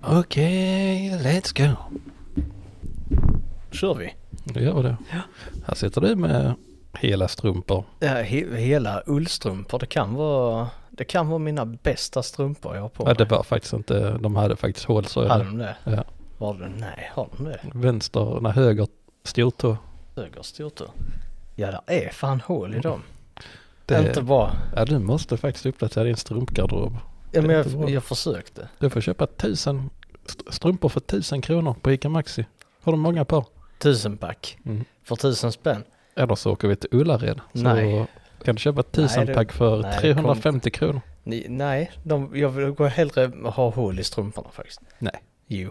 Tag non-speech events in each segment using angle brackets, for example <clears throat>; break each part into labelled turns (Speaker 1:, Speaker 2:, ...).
Speaker 1: Okej, let's go.
Speaker 2: kör vi.
Speaker 1: Då gör vi det.
Speaker 2: Ja.
Speaker 1: Här sitter du med hela strumpor.
Speaker 2: Ja, he hela ullstrumpor, det kan vara, det kan vara mina bästa strumpor jag har på
Speaker 1: Ja,
Speaker 2: mig.
Speaker 1: det var faktiskt inte, de hade faktiskt hål så.
Speaker 2: Hade de det?
Speaker 1: Ja.
Speaker 2: Var det? Nej, har de det?
Speaker 1: Vänster, nej höger stortå.
Speaker 2: Höger stortå. Ja, det är fan hål i dem.
Speaker 1: Det,
Speaker 2: Inte bra.
Speaker 1: ja, du måste faktiskt uppdatera din strumpgarderob.
Speaker 2: Ja, men
Speaker 1: är inte bra.
Speaker 2: jag, jag försökte.
Speaker 1: Du får köpa tusen st- strumpor för tusen kronor på ICA Maxi. Har de många par?
Speaker 2: Tusenpack.
Speaker 1: Mm.
Speaker 2: För tusen spänn.
Speaker 1: Eller så åker vi till Ullared. Så
Speaker 2: Nej.
Speaker 1: kan du köpa tusen
Speaker 2: det-
Speaker 1: pack för
Speaker 2: nej, det
Speaker 1: 350 kronor.
Speaker 2: Ni, nej, de, jag vill gå hellre ha hål i strumporna faktiskt.
Speaker 1: Nej.
Speaker 2: Jo.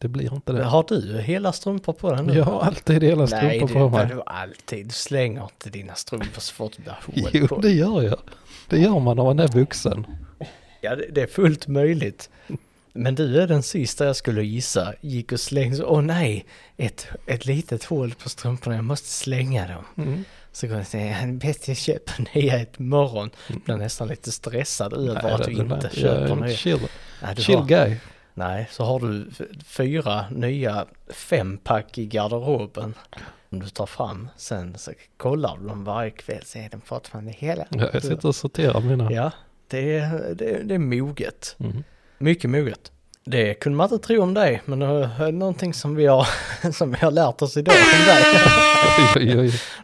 Speaker 1: Det blir inte det.
Speaker 2: Har du hela strumpor på dig nu?
Speaker 1: Jag har alltid hela
Speaker 2: Nej,
Speaker 1: strumpor
Speaker 2: det
Speaker 1: på
Speaker 2: gör
Speaker 1: mig.
Speaker 2: du alltid. Du slänger inte dina strumpor så fort du har hål på
Speaker 1: <laughs> Jo,
Speaker 2: dig.
Speaker 1: det gör jag. Det gör man när man är vuxen.
Speaker 2: Ja, det, det är fullt möjligt. Men du är den sista jag skulle gissa gick och slängde. Åh nej, ett, ett litet hål på strumporna, jag måste slänga dem.
Speaker 1: Mm.
Speaker 2: Så går jag och säger, "Ja, bäst jag köper nya ett morgon. Blir nästan lite stressad över
Speaker 1: Nej,
Speaker 2: att
Speaker 1: det-
Speaker 2: du
Speaker 1: det-
Speaker 2: inte
Speaker 1: jag är
Speaker 2: köper
Speaker 1: en
Speaker 2: nya.
Speaker 1: Chill,
Speaker 2: Nej, du
Speaker 1: chill
Speaker 2: har,
Speaker 1: guy.
Speaker 2: nej, så har du f- fyra nya fempack i garderoben. Om du tar fram, sen så kollar du dem varje kväll, så är den fortfarande hela.
Speaker 1: Ja, Jag sitter och sorterar mina.
Speaker 2: Ja, det är, det, är- det är moget.
Speaker 1: Mm.
Speaker 2: Mycket moget. Det kunde man inte tro om dig, men eh, någonting som vi har, <laughs> som vi har lärt oss idag om dig. <laughs>
Speaker 1: Oj, oj,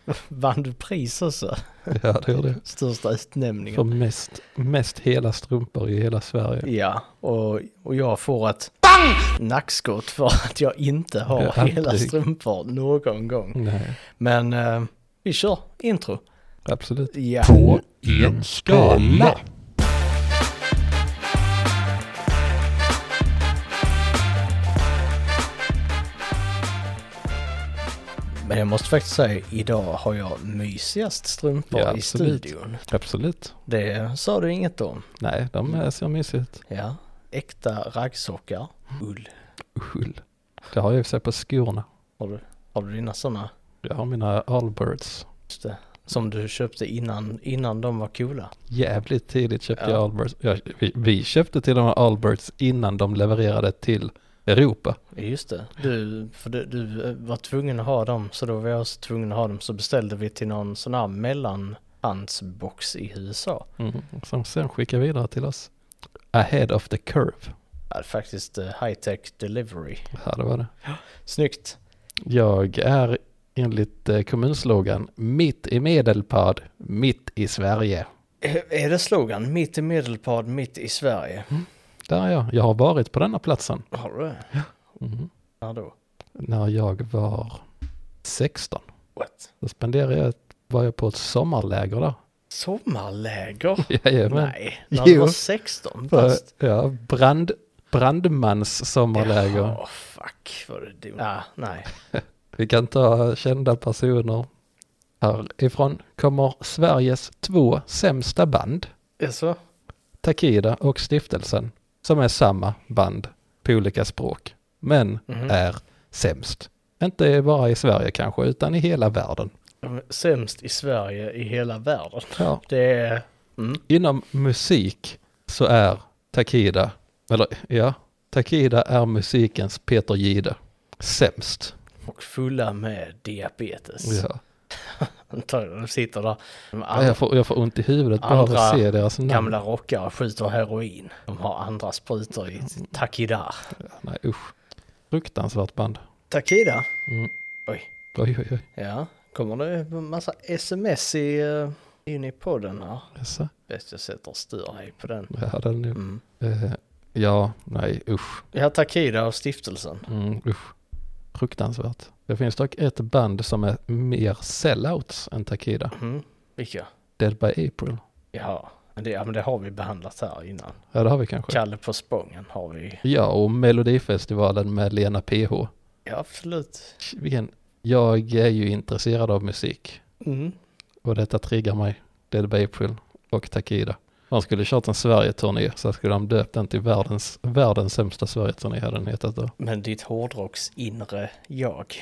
Speaker 1: oj.
Speaker 2: Vann du pris också?
Speaker 1: Ja, det gör det.
Speaker 2: Största utnämningen.
Speaker 1: För mest, mest hela strumpor i hela Sverige.
Speaker 2: Ja, och, och jag får ett nackskott för att jag inte har
Speaker 1: Ja,
Speaker 2: hela
Speaker 1: aldrig.
Speaker 2: strumpor någon gång.
Speaker 1: Nej,
Speaker 2: Men eh, vi kör intro.
Speaker 1: absolut.
Speaker 2: Ja.
Speaker 3: på
Speaker 1: Mm.
Speaker 3: en skala.
Speaker 2: Men jag måste faktiskt säga, idag har jag mysigast strumpor
Speaker 1: Ja,
Speaker 2: i
Speaker 1: absolut.
Speaker 2: studion.
Speaker 1: Absolut.
Speaker 2: Det sa du inget om.
Speaker 1: Nej, de
Speaker 2: Mm.
Speaker 1: är- ser mysiga ut.
Speaker 2: Ja, äkta raggsockar. Ull.
Speaker 1: Ull. Det har jag i och för sig på skorna.
Speaker 2: Har du, har du dina sådana?
Speaker 1: Jag har mina Allbirds.
Speaker 2: Just det. Som du köpte innan, innan de var coola.
Speaker 1: Jävligt tidigt köpte
Speaker 2: Ja.
Speaker 1: jag Allbirds. Ja, vi, vi köpte till och med Allbirds innan de levererade till Europa.
Speaker 2: Just det. Du, för du, du eh, var tvungen att ha dem så då var jag också tvungen att ha dem så beställde vi till någon sån här mellanhandsbox i USA.
Speaker 1: Mm. Som sen skickade vidare till oss. Ahead of the curve.
Speaker 2: Ja, faktiskt eh, high-tech delivery.
Speaker 1: Ja, det var det.
Speaker 2: Snyggt.
Speaker 1: Jag är enligt eh, kommunslogan mitt i Medelpad, mitt i Sverige.
Speaker 2: Eh, Är det slogan? Mitt i Medelpad, mitt i Sverige.
Speaker 1: Där är jag. Jag har varit på denna platsen.
Speaker 2: Har du det?
Speaker 1: Mm.
Speaker 2: Ja då.
Speaker 1: När jag var 16.
Speaker 2: What?
Speaker 1: Då spenderade jag, var jag på ett sommarläger där. <laughs>
Speaker 2: Sommarläger?
Speaker 1: Jajamän.
Speaker 2: Nej, när du
Speaker 1: Jo.
Speaker 2: var 16
Speaker 1: För-
Speaker 2: bast.
Speaker 1: Ja, brand, brandmans sommarläger.
Speaker 2: Ja, fuck vad det dumt. Ah, nej.
Speaker 1: Vi kan ta kända personer. Härifrån kommer Sveriges två sämsta band.
Speaker 2: Jaså?
Speaker 1: Takida och Stiftelsen, som är samma band på olika språk, men
Speaker 2: Mhm.
Speaker 1: är sämst. Inte bara i Sverige kanske, utan i hela världen.
Speaker 2: De är Sämst i Sverige i hela världen.
Speaker 1: Ja.
Speaker 2: Det är... Mm.
Speaker 1: Inom musik så är Takida, eller ja, Takida är musikens Peter Gide. Sämst.
Speaker 2: Och fulla med diabetes.
Speaker 1: Ja.
Speaker 2: Antagligen de sitter där. De
Speaker 1: Ja,
Speaker 2: andra
Speaker 1: Jag, får, jag får ont i huvudet bara av att
Speaker 2: andra
Speaker 1: se deras namn.
Speaker 2: gamla rockare skjuter heroin. De har andra sprutor i Takida.
Speaker 1: Nej, usch. Fruktansvärt band.
Speaker 2: Takida?
Speaker 1: Mm.
Speaker 2: Oj.
Speaker 1: Oj, oj, oj.
Speaker 2: Ja, kommer det en massa sms i, eh, in i podden här?
Speaker 1: Jaså?
Speaker 2: Bäst jag sätter styr här på den.
Speaker 1: Ja, den är,
Speaker 2: Mm.
Speaker 1: eh, ja, nej, usch.
Speaker 2: Ja, Takida och stiftelsen.
Speaker 1: Mm, usch. Fruktansvärt. Det finns dock ett band som är mer sellouts än Takida.
Speaker 2: Mm. Vilka?
Speaker 1: Dead by April.
Speaker 2: Ja, men det, ja, men det har vi behandlat här innan.
Speaker 1: Ja, det har vi kanske.
Speaker 2: Kalle på Spången har vi.
Speaker 1: Ja, och Melodifestivalen med Lena PH.
Speaker 2: Ja, absolut.
Speaker 1: Vilken, jag är ju intresserad av musik
Speaker 2: Mm.
Speaker 1: och detta triggar mig. Dead by April och Takida. De skulle kört en Sverige-turné så skulle de döpt den till världens, världens sämsta Sverige-turné hade den hetat då.
Speaker 2: Men ditt hårdrocks inre jag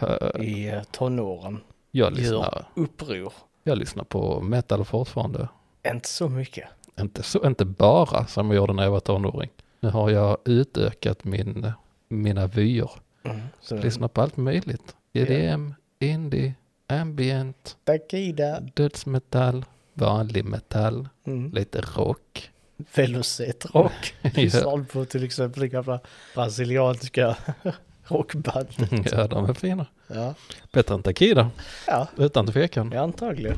Speaker 1: Eh,
Speaker 2: i eh, tonåren
Speaker 1: Jag lyssnar,
Speaker 2: uppror.
Speaker 1: jag lyssnar på metal fortfarande.
Speaker 2: Inte så mycket.
Speaker 1: Inte, så, inte bara som jag gjorde när jag var tonåring. Nu har jag utökat min, mina vyer.
Speaker 2: Mm. Så,
Speaker 1: Lyssnar på allt möjligt. EDM, indie, ambient,
Speaker 2: Takida.
Speaker 1: dödsmetall, vanlig metall,
Speaker 2: Mm.
Speaker 1: lite rock.
Speaker 2: Velocet
Speaker 1: <laughs>
Speaker 2: rock. <laughs> Lyssnar på till exempel gamla brasilianska <laughs> rockband.
Speaker 1: ja, de är fina.
Speaker 2: Ja.
Speaker 1: Bättre än Takida,
Speaker 2: ja,
Speaker 1: utan tvekan.
Speaker 2: ja antagligen.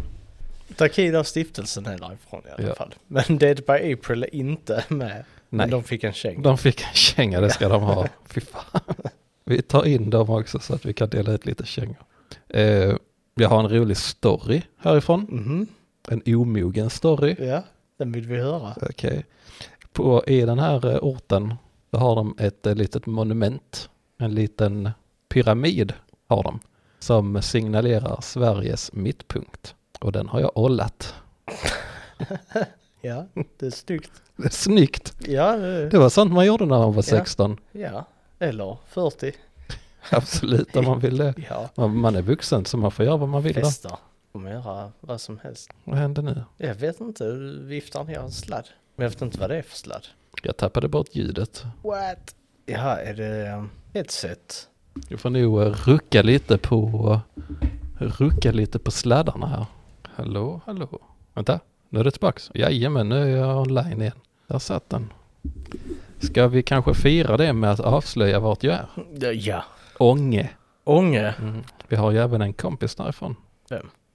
Speaker 2: Takida och stiftelsen är därifrån i alla
Speaker 1: Ja.
Speaker 2: fall. Men Dead by April är inte med. Men
Speaker 1: Nej.
Speaker 2: de fick en käng.
Speaker 1: De fick en känga, det ska de ha. Fy fan. Vi tar in dem också så att vi kan dela ut lite kängor. Eh, jag har en rolig story härifrån.
Speaker 2: Mhm,
Speaker 1: En omogen story.
Speaker 2: Ja, den vill vi höra.
Speaker 1: Okej. På I den här eh, orten så har de ett eh, litet monument. En liten pyramid har de. Som signalerar Sveriges mittpunkt. Och den har jag ollat. <laughs>
Speaker 2: Ja, det är snyggt.
Speaker 1: Det är Snyggt!
Speaker 2: Ja, det,
Speaker 1: Det var sånt man gjorde när man var
Speaker 2: Ja.
Speaker 1: 16.
Speaker 2: ja. eller 40.
Speaker 1: Absolut, om man ville.
Speaker 2: Ja,
Speaker 1: Man man är vuxen så man får göra vad man vill. Då.
Speaker 2: festa. Får man göra vad som helst.
Speaker 1: Vad hände nu?
Speaker 2: Jag vet inte, du viftar ner en sladd. Men jag vet inte vad det är för sladd.
Speaker 1: Jag tappade bort ljudet.
Speaker 2: What? Ja, är det um, headset?
Speaker 1: Jag får nog eh, rucka lite på rucka lite på sladdarna här. Hallå, hallå. Vänta, nu är det tillbaks. Jajamän, nu är jag online igen. Där satt den. Ska vi kanske fira det med att avslöja vart jag är?
Speaker 2: Ja.
Speaker 1: Ånge.
Speaker 2: Ånge.
Speaker 1: Vi har ju även en kompis därifrån.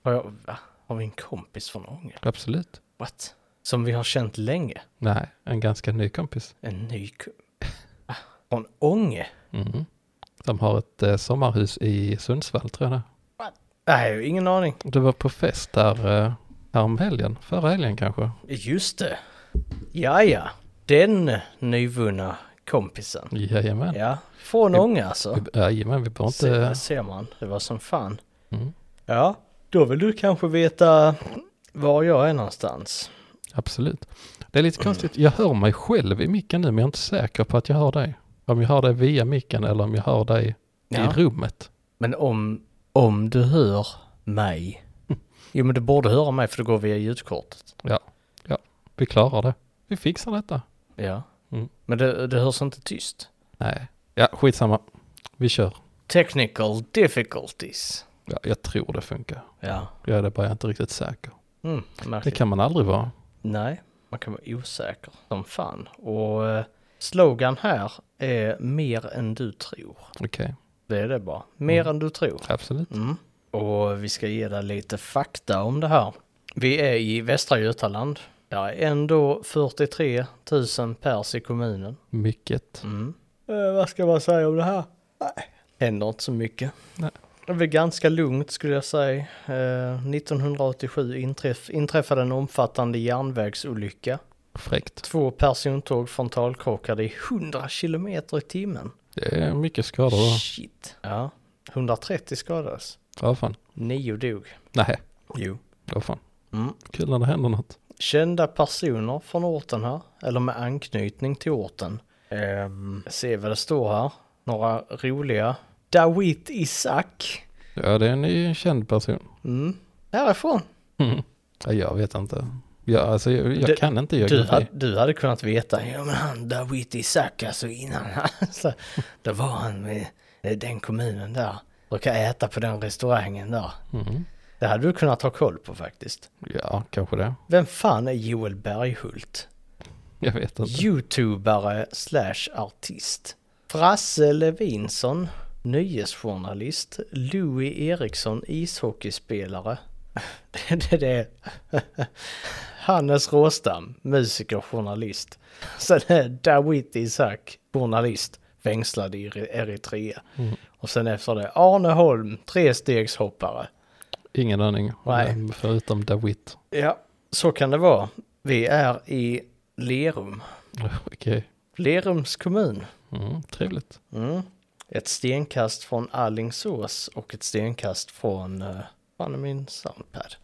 Speaker 2: Har, jag, va? har vi en kompis från Ånge?
Speaker 1: Absolut.
Speaker 2: What? Som vi har känt länge?
Speaker 1: Nej, en ganska ny kompis.
Speaker 2: En ny ku- Va? Från Ånge?
Speaker 1: Mm. De har ett eh, sommarhus i Sundsvall tror jag
Speaker 2: Nej, ingen aning.
Speaker 1: det. Du var på fest där eh, häromhelgen, förra helgen kanske.
Speaker 2: Just det. Ja, ja. Den nyvunna kompisen.
Speaker 1: Jajamän.
Speaker 2: Ja, från Ånge alltså.
Speaker 1: Vi- Jajamän, vi behöver
Speaker 2: Se, där
Speaker 1: inte...
Speaker 2: ser man. Det var som fan.
Speaker 1: Mm,
Speaker 2: Ja, då vill du kanske veta var jag är någonstans.
Speaker 1: absolut. Det är lite konstigt, jag hör mig själv i micken nu men jag är inte säker på att jag hör dig. Om jag hör dig via micken eller om jag hör dig
Speaker 2: Ja.
Speaker 1: i rummet.
Speaker 2: Men om, om du hör
Speaker 1: <laughs>
Speaker 2: mig. Jo men du borde höra mig för det går via ljudkortet.
Speaker 1: Vi klarar det. Vi fixar detta.
Speaker 2: Ja.
Speaker 1: Mm.
Speaker 2: Men det, det hörs inte tyst.
Speaker 1: Nej, ja skitsamma. Vi kör.
Speaker 2: Technical difficulties.
Speaker 1: Ja, jag tror det funkar.
Speaker 2: Ja.
Speaker 1: Jag är det bara inte riktigt säker.
Speaker 2: Mm,
Speaker 1: Det
Speaker 2: märkligt.
Speaker 1: kan man aldrig vara.
Speaker 2: Nej, man kan vara osäker som fan. Och eh, slogan här är mer än du tror.
Speaker 1: Okej,
Speaker 2: Det är det bara. Mer än du tror.
Speaker 1: absolut.
Speaker 2: Mm. Och vi ska ge dig lite fakta om det här. Vi är i Västra Götaland. Där är ändå 43 000 pers i kommunen.
Speaker 1: Mycket.
Speaker 2: Mm. vad ska man säga om det här? Nej. Händer inte så mycket.
Speaker 1: Nej.
Speaker 2: Det är väl ganska lugnt skulle jag säga. Eh, 1987 inträff- inträffade en omfattande järnvägsolycka.
Speaker 1: Fräckt.
Speaker 2: Två persontåg frontalkrockade i 100 kilometer i timmen.
Speaker 1: Det är mycket skador. då.
Speaker 2: Shit. Ja. 130 skadades.
Speaker 1: Ja, fan.
Speaker 2: Nio dog.
Speaker 1: Nej,
Speaker 2: Jo.
Speaker 1: ja, fan.
Speaker 2: Mm.
Speaker 1: Kul när det händer något.
Speaker 2: Kända personer från orten här, eller med anknytning till orten. Um. Se vad det står här. Några roliga. Dawit Isak.
Speaker 1: Ja, det är en ny känd person.
Speaker 2: Mm. Härifrån.
Speaker 1: Mm. Ja, jag vet inte. Jag, alltså, jag, jag
Speaker 2: Du-
Speaker 1: kan inte
Speaker 2: Du,
Speaker 1: geografi.
Speaker 2: ha- du hade kunnat veta. Ja men han Dawit Isak alltså innan <laughs> han. så, Då var han med eh, den kommunen där. Brukar äta på den restaurangen där.
Speaker 1: Mm.
Speaker 2: Det hade du kunnat ha koll på faktiskt.
Speaker 1: Ja, kanske det.
Speaker 2: Vem fan är Joel Berghult?
Speaker 1: Jag vet inte.
Speaker 2: Youtubare slash artist. Frasse Levinsson, nöjesjournalist. Louis Eriksson, ishockeyspelare. <laughs> Det, det, det. <laughs> Hannes Råstam, musiker, journalist. <laughs> Sen är Dawit Isaak, journalist, fängslad i Eri- Eritrea. Och sen efter det Arne Holm, trestegshoppare.
Speaker 1: Ingen aning.
Speaker 2: Nej.
Speaker 1: Mm, Förutom Dawit.
Speaker 2: Ja, så kan det vara. Vi är i Lerum.
Speaker 1: <laughs> Okej.
Speaker 2: Lerums kommun.
Speaker 1: Mm, trevligt.
Speaker 2: Mm. Ett stenkast från Allingsås och ett stenkast från, eh, fan är min soundpad?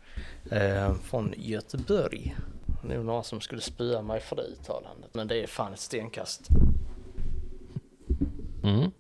Speaker 2: Eh, från Göteborg. Det är nog några som skulle spöa mig för det uttalandet, men det är fan ett stenkast.
Speaker 1: Mm.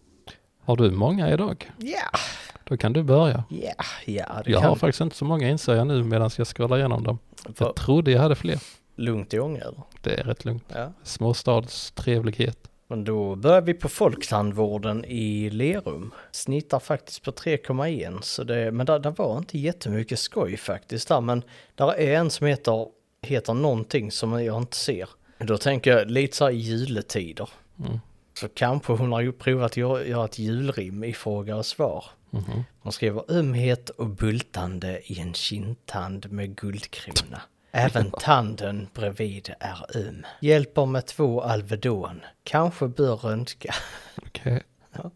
Speaker 1: Har du många idag?
Speaker 2: Ja,
Speaker 1: Då kan du börja.
Speaker 2: ja, ja, det
Speaker 1: Jag har
Speaker 2: kan
Speaker 1: faktiskt inte så många inser jag nu medan jag scrollar igenom dem.
Speaker 2: Va-
Speaker 1: Jag trodde jag hade fler.
Speaker 2: lugnt i Ånge eller?
Speaker 1: Det är rätt lugnt.
Speaker 2: Ja.
Speaker 1: Småstadstrevlighet.
Speaker 2: Men då börjar vi på Folktandvården i Lerum. Snittar faktiskt på 3,1 så det, men där, där var inte jättemycket skoj faktiskt där, men där är en som heter, heter någonting som jag inte ser. Då tänker jag lite så här i juletider.
Speaker 1: Mm.
Speaker 2: Så kanske hon har ju provat att göra, göra ett julrim i fråga och svar.
Speaker 1: Mhm.
Speaker 2: Hon skriver ömhet och bultande i en kindtand
Speaker 1: <laughs>
Speaker 2: med guldkrona. Även tanden bredvid är öm. Hjälper med två Alvedon. Kanske bör röntga.
Speaker 1: Okej.
Speaker 2: Ja.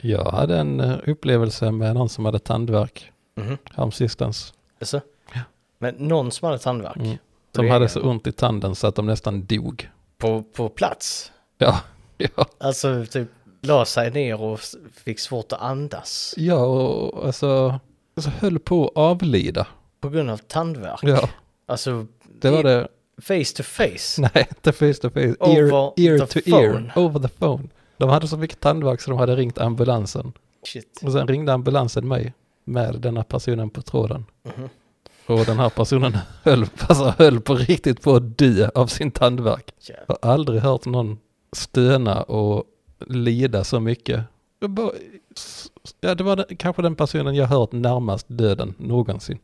Speaker 1: Jag hade en eh, upplevelse med någon som hade tandvärk
Speaker 2: Mhm.
Speaker 1: häromsistens.
Speaker 2: Alltså?
Speaker 1: Ja.
Speaker 2: Men någon som hade tandvärk?
Speaker 1: Mm.
Speaker 2: Det
Speaker 1: Som
Speaker 2: är-
Speaker 1: hade så ont i tanden så att de nästan dog.
Speaker 2: På, på plats?
Speaker 1: Ja, <laughs> ja.
Speaker 2: Alltså typ la sig ner och s- fick svårt att andas.
Speaker 1: Ja, och alltså, alltså höll på att avlida.
Speaker 2: På grund av tandvärk?
Speaker 1: Ja,
Speaker 2: Alltså
Speaker 1: det var
Speaker 2: i-
Speaker 1: det.
Speaker 2: face to face?
Speaker 1: <laughs> Nej, inte face to face. Ear,
Speaker 2: Over
Speaker 1: ear to
Speaker 2: the
Speaker 1: ear.
Speaker 2: phone.
Speaker 1: Over the phone. De hade så mycket tandvärk så de hade ringt ambulansen.
Speaker 2: Shit.
Speaker 1: Och sen ringde ambulansen mig med denna personen på tråden.
Speaker 2: Mhm.
Speaker 1: Och den här personen <laughs> höll, alltså, höll på riktigt på att dö av sin tandvärk.
Speaker 2: Jävlar.
Speaker 1: Jag har aldrig hört någon stöna och lida så mycket. Jag bara, s- ja, det var den, kanske den personen jag hört närmast döden någonsin.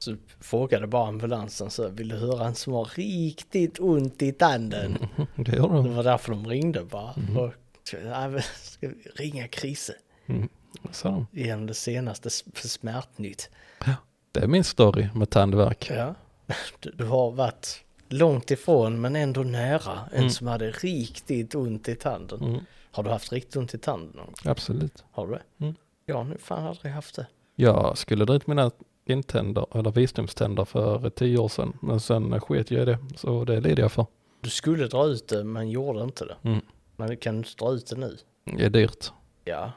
Speaker 2: Så frågade bara ambulansen så här, vill du höra en som har riktigt ont i tanden?
Speaker 1: Mhm, Det gör
Speaker 2: Det
Speaker 1: de.
Speaker 2: var därför de ringde bara.
Speaker 1: Mm-hmm.
Speaker 2: Och, ska, nej, men ska vi ringa Krise
Speaker 1: Mm. Så de.
Speaker 2: genom det senaste s- för smärtnytt.
Speaker 1: Det är min story med tandvärk.
Speaker 2: Ja. <laughs> Du, du har varit långt ifrån men ändå nära en som hade riktigt ont i tanden.
Speaker 1: Mm.
Speaker 2: Har du haft riktigt ont i tanden? någon gång?
Speaker 1: Absolut.
Speaker 2: Har du det?
Speaker 1: Mm.
Speaker 2: Jag har nu fan aldrig haft det.
Speaker 1: Jag skulle dra ut mina intänder, eller visdomständer för tio år sedan. Men sen sket jag i det, så det lider jag för.
Speaker 2: Du skulle dra ut det men gjorde inte det.
Speaker 1: Mm.
Speaker 2: Men kan du inte dra ut det nu?
Speaker 1: Det är dyrt.
Speaker 2: Ja.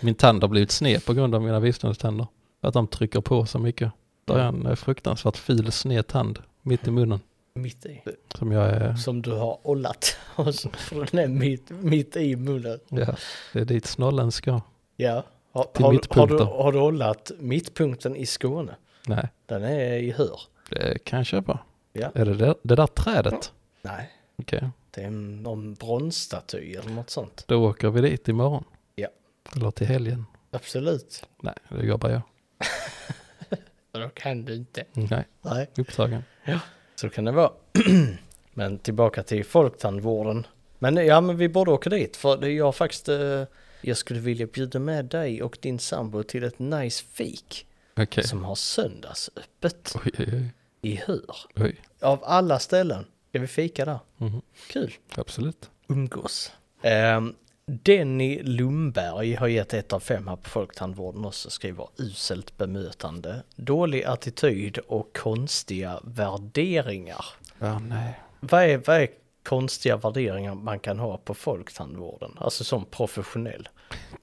Speaker 1: Min tand har blivit sned på grund av mina visdomständer. För att de trycker på så mycket. Där är en eh, fruktansvärt fil sned tand mitt i munnen.
Speaker 2: Mitt i.
Speaker 1: Som jag är,
Speaker 2: som du har ollat. <laughs> Och så får den är mitt, mitt i munnen.
Speaker 1: ja, det är dit snollen ska.
Speaker 2: Ja. Har,
Speaker 1: Till
Speaker 2: har, du- har, du,
Speaker 1: mittpunkten.
Speaker 2: har du ollat mittpunkten i Skåne?
Speaker 1: Nej,
Speaker 2: Den är i hör.
Speaker 1: det kan jag köpa.
Speaker 2: Ja.
Speaker 1: Är det det, det där trädet?
Speaker 2: Nej.
Speaker 1: Okej,
Speaker 2: Det är en- någon bronsstaty eller något sånt.
Speaker 1: då åker vi dit imorgon.
Speaker 2: Ja.
Speaker 1: Eller till helgen.
Speaker 2: Absolut.
Speaker 1: Nej, det jobbar jag.
Speaker 2: Men då kan du inte.
Speaker 1: Nej,
Speaker 2: Nej.
Speaker 1: upptagen.
Speaker 2: Så kan det vara. <clears throat> men tillbaka till folktandvården. Men ja, men vi borde åka dit för det är jag faktiskt. Eh, jag skulle vilja bjuda med dig och din sambo till ett nice fik
Speaker 1: Okej.
Speaker 2: som har söndagsöppet
Speaker 1: Oj, oj, oj.
Speaker 2: i hör.
Speaker 1: oj.
Speaker 2: Av alla ställen. Ska vi fika där?
Speaker 1: Mhm.
Speaker 2: Kul.
Speaker 1: Absolut.
Speaker 2: Umgås. Um, Denny Lundberg har gett ett av fem här på Folktandvården också. Skriver uselt bemötande, dålig attityd och konstiga värderingar.
Speaker 1: Ja, nej.
Speaker 2: Vad är, vad är konstiga värderingar man kan ha på Folktandvården? Alltså som professionell.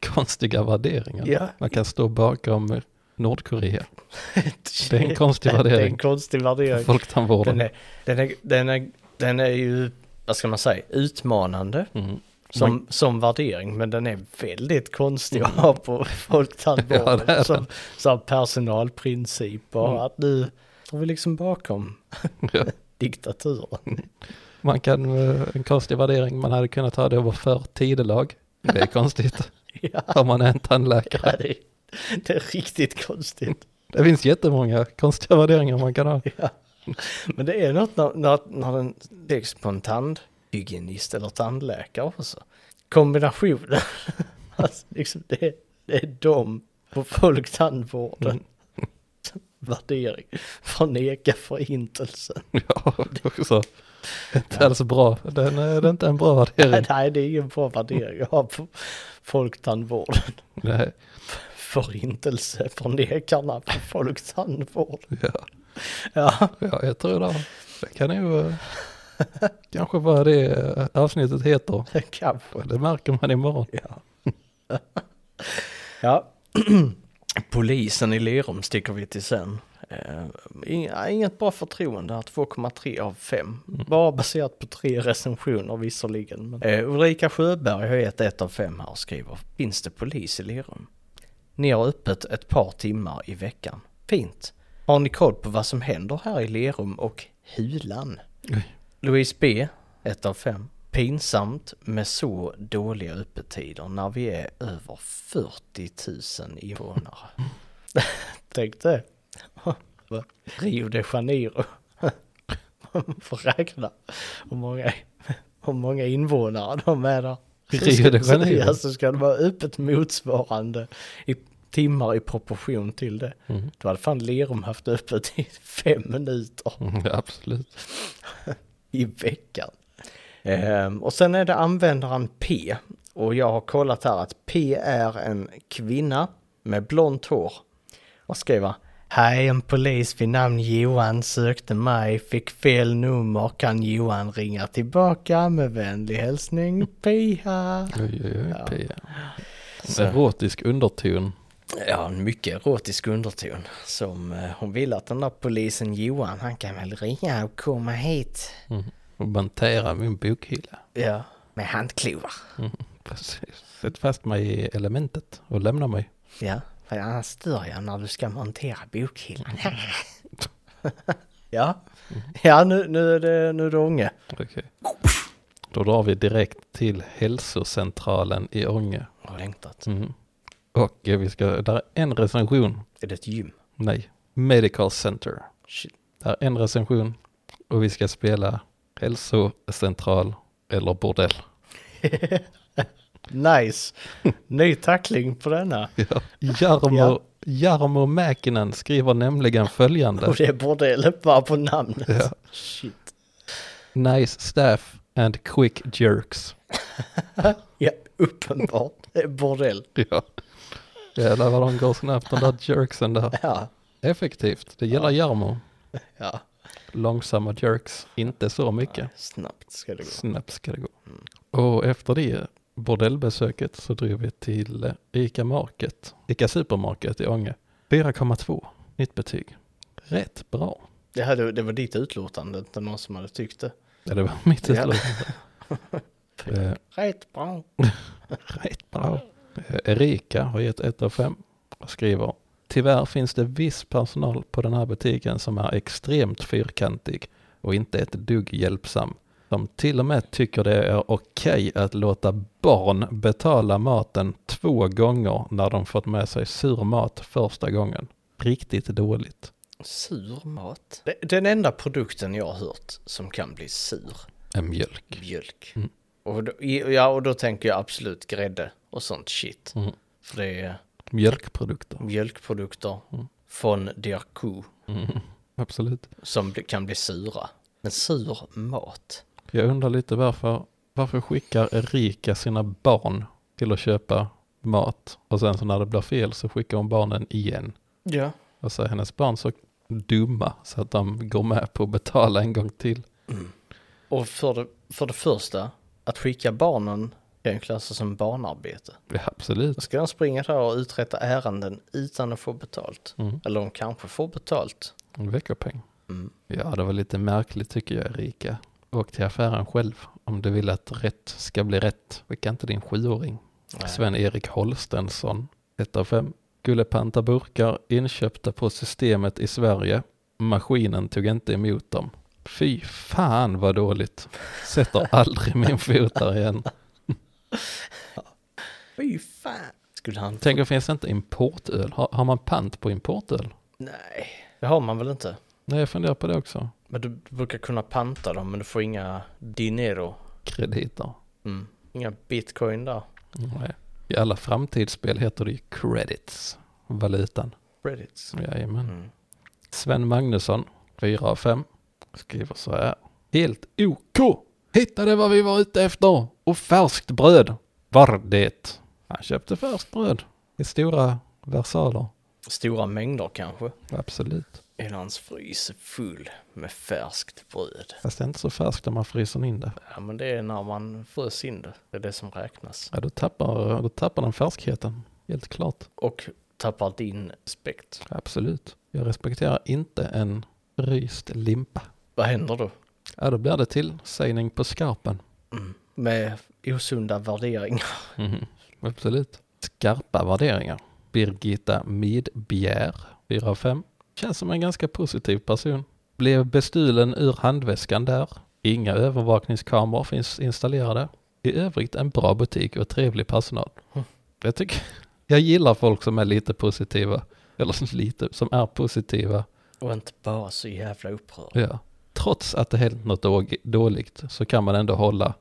Speaker 1: Konstiga värderingar.
Speaker 2: Ja.
Speaker 1: Man kan stå bakom Nordkorea. Det
Speaker 2: <laughs>
Speaker 1: är en konstig
Speaker 2: Det är en
Speaker 1: värdering.
Speaker 2: konstig värdering. Den
Speaker 1: Folktandvården.
Speaker 2: är, den, är, den, är, den är ju, vad ska man säga, utmanande.
Speaker 1: Mm.
Speaker 2: Som, som värdering, men den är väldigt konstig att ha på
Speaker 1: Mm. <laughs> Ja,
Speaker 2: folktandvården.
Speaker 1: det är den.
Speaker 2: som, som personalprinciper,
Speaker 1: Mm.
Speaker 2: att nu står vi liksom bakom
Speaker 1: Ja. Mm.
Speaker 2: diktaturen.
Speaker 1: <laughs> Man kan, eh, en konstig värdering, man hade kunnat ha det över för tidelag. Det är <laughs> konstigt.
Speaker 2: <laughs> ja,
Speaker 1: Om man är en tandläkare.
Speaker 2: det, är- det är riktigt konstigt.
Speaker 1: Det finns jättemånga konstiga värderingar man kan ha.
Speaker 2: Men det är något när, när, när den läggs på en tandhygienist eller tandläkare också. Kombinationen, <laughs> alltså liksom det, är- det är de på folktandvården.
Speaker 1: Mm.
Speaker 2: <laughs> Värdering, förneka förintelsen.
Speaker 1: <laughs> Ja, också. Inte alls bra. Den är, det är inte en bra värdering.
Speaker 2: Nej, det är ingen bra värdering att ha på folktandvården.
Speaker 1: Nej.
Speaker 2: Förintelse förnekarna på folktandvård.
Speaker 1: Ja.
Speaker 2: Ja,
Speaker 1: Ja, jag tror det. Det kan ju eh, kanske vara det eh, avsnittet heter.
Speaker 2: kanske.
Speaker 1: Det märker man imorgon.
Speaker 2: Ja. <clears throat> Polisen i Lerum sticker vi till sen. Eh, inga- inget bra förtroende här, 2,3 av 5. Bara baserat på tre recensioner visserligen. Men. Eh, Ulrika Sjöberg har gett 1 av 5 här och skriver, finns det polis i Lerum? Ni har öppet ett par timmar i veckan. Fint. Har ni koll på vad som händer här i Lerum och Hulan?
Speaker 1: Oj.
Speaker 2: Louise B, 1 av 5. Pinsamt med så dåliga öppettider när vi är över 40 000 invånare.
Speaker 1: <laughs>
Speaker 2: Tänk <laughs> det. Rio de Janeiro. <laughs> Man får räkna hur många, hur många invånare de är där.
Speaker 1: Rio de Janeiro.
Speaker 2: Ja, så ska det vara öppet motsvarande i timmar i proportion till det.
Speaker 1: Mm.
Speaker 2: Då hade fan Lerum haft öppet i fem minuter
Speaker 1: Mm, Absolut.
Speaker 2: i veckan. Ehm, och sen är det användaren P. Och jag har kollat här att P är en kvinna med blont hår. Och skriver Hej, en polis vid namn Johan sökte mig, fick fel nummer, kan Johan ringa tillbaka med vänlig hälsning Pia.
Speaker 1: Oj, oj, oj. Pia.
Speaker 2: Så.
Speaker 1: Erotisk underton.
Speaker 2: Ja, en mycket erotisk underton som eh, hon vill att den där polisen Johan, han kan väl ringa och komma hit.
Speaker 1: Mm. Och bantera min bokhylla.
Speaker 2: Ja. Med handklovar.
Speaker 1: Mm. Precis. Sätt fast mig i elementet och lämna mig.
Speaker 2: Ja, för annars stör jag när du ska montera bokhyllan. <laughs> ja, ja nu, nu är det, nu är det Ånge.
Speaker 1: Okej. Då drar vi direkt till hälsocentralen i Ånge.
Speaker 2: Har längtat.
Speaker 1: Mm. Och eh, vi ska, där är en recension.
Speaker 2: Är det ett gym?
Speaker 1: Nej, Medical Center.
Speaker 2: Shit.
Speaker 1: Där är en recension. Och vi ska spela hälsocentral eller bordell.
Speaker 2: Nice! Ny tackling på denna.
Speaker 1: Ja. Jarmo,
Speaker 2: Ja.
Speaker 1: Jarmo Mäkinen skriver nämligen följande.
Speaker 2: Och det är bordellen bara på namnet.
Speaker 1: Ja.
Speaker 2: Shit.
Speaker 1: Nice staff and quick jerks.
Speaker 2: Ja, uppenbart. Det är bordell.
Speaker 1: Ja. <laughs> Jävlar vad de går snabbt de där jerksen där.
Speaker 2: Ja,
Speaker 1: Effektivt, det gillar Jarmo.
Speaker 2: ja.
Speaker 1: Långsamma jerks, inte så mycket.
Speaker 2: Snabbt ska det Mm. gå.
Speaker 1: Snabbt ska det gå. Och efter det bordellbesöket så drog vi till eh, Ica Market, Ica Supermarket i Ånge. 4,2, nytt betyg. Rätt bra.
Speaker 2: Det, hade, det var ditt utlåtande, inte någon som hade tyckt det.
Speaker 1: Ja, det var mitt
Speaker 2: Ja.
Speaker 1: utlåtande.
Speaker 2: <laughs>
Speaker 1: Eh,
Speaker 2: Rätt bra.
Speaker 1: Rätt bra. Eh, Erika har gett 1 av 5 och skriver Tyvärr finns det viss personal på den här butiken som är extremt fyrkantig och inte ett dugg hjälpsam. De till och med tycker det är okej att låta barn betala maten två gånger när de fått med sig sur mat första gången. Riktigt dåligt.
Speaker 2: Sur mat. Det- Den enda produkten jag har hört som kan bli sur,
Speaker 1: En mjölk.
Speaker 2: mjölk.
Speaker 1: Mm.
Speaker 2: Och, då, ja, och då tänker jag absolut grädde och sånt shit.
Speaker 1: Mm.
Speaker 2: För det är
Speaker 1: Mjölkprodukter.
Speaker 2: mjölkpodukter
Speaker 1: Mm.
Speaker 2: från deras ko
Speaker 1: Mm. Absolut.
Speaker 2: som bli- kan bli sura. Men sur mat.
Speaker 1: Jag undrar lite varför, varför skickar Erika sina barn till att köpa mat och sen så när det blir fel så skickar hon barnen igen.
Speaker 2: Ja.
Speaker 1: Och så är hennes barn så dumma så att de går med på att betala en gång till.
Speaker 2: Och för det, för det första, att skicka barnen kan ju klassas som barnarbete.
Speaker 1: Ja,
Speaker 2: Då
Speaker 1: absolut.
Speaker 2: ska de springa där och uträtta ärenden utan att få betalt.
Speaker 1: Mm.
Speaker 2: Eller de kanske får betalt.
Speaker 1: En veckopeng.
Speaker 2: Mm.
Speaker 1: Ja, det var lite märkligt tycker jag Erika. Åk till affären själv om du vill att rätt ska bli rätt. Skicka inte din sjuåring.
Speaker 2: Nej.
Speaker 1: Sven-Erik Holstensson, 1 av 5. Skulle panta burkar inköpta på systemet i Sverige. Maskinen tog inte emot dem. Fy fan vad dåligt. Sätter aldrig min fot där igen.
Speaker 2: Fy fan. Skulle han...
Speaker 1: Tänker finns det inte importöl? Har, har man pant på importöl?
Speaker 2: Nej, det har man väl inte.
Speaker 1: Nej, jag funderar på det också.
Speaker 2: Men du brukar kunna panta dem men du får inga dinero.
Speaker 1: Krediter.
Speaker 2: Mm. Inga bitcoin där.
Speaker 1: Nej. I alla framtidsspel heter det ju credits. Valutan.
Speaker 2: Reddits.
Speaker 1: Jajamän.
Speaker 2: Mm.
Speaker 1: Sven Magnusson, 4 av 5, skriver så här. Helt OK! Hittade vad vi var ute efter och färskt bröd var det. Han köpte färskt bröd i stora versaler.
Speaker 2: Stora mängder kanske.
Speaker 1: Absolut.
Speaker 2: Eller hans frys är full med färskt bröd.
Speaker 1: Fast det är inte så färskt när man fryser in det.
Speaker 2: Ja men det är när man frös in det. Det är det som räknas.
Speaker 1: Ja, då tappar, då tappar den färskheten. Helt klart.
Speaker 2: Och tappar din respekt.
Speaker 1: Absolut. Jag respekterar inte en ryst limpa.
Speaker 2: Vad händer då?
Speaker 1: Ja, då blir det tillsägning på skarpen.
Speaker 2: Mm. Med osunda värderingar. <laughs>
Speaker 1: Mhm, Absolut. Skarpa värderingar. Birgitta Midbjer, 4 av 5. Känns som en ganska positiv person. Blev bestulen ur handväskan där. Inga övervakningskameror finns installerade. I övrigt en bra butik och trevlig personal.
Speaker 2: Mm.
Speaker 1: Jag, tycker, jag gillar folk som är lite positiva. Eller <laughs> som lite, som är positiva.
Speaker 2: Och inte bara så jävla upprörd.
Speaker 1: Ja. Trots att det hänt något då- dåligt så kan man ändå hålla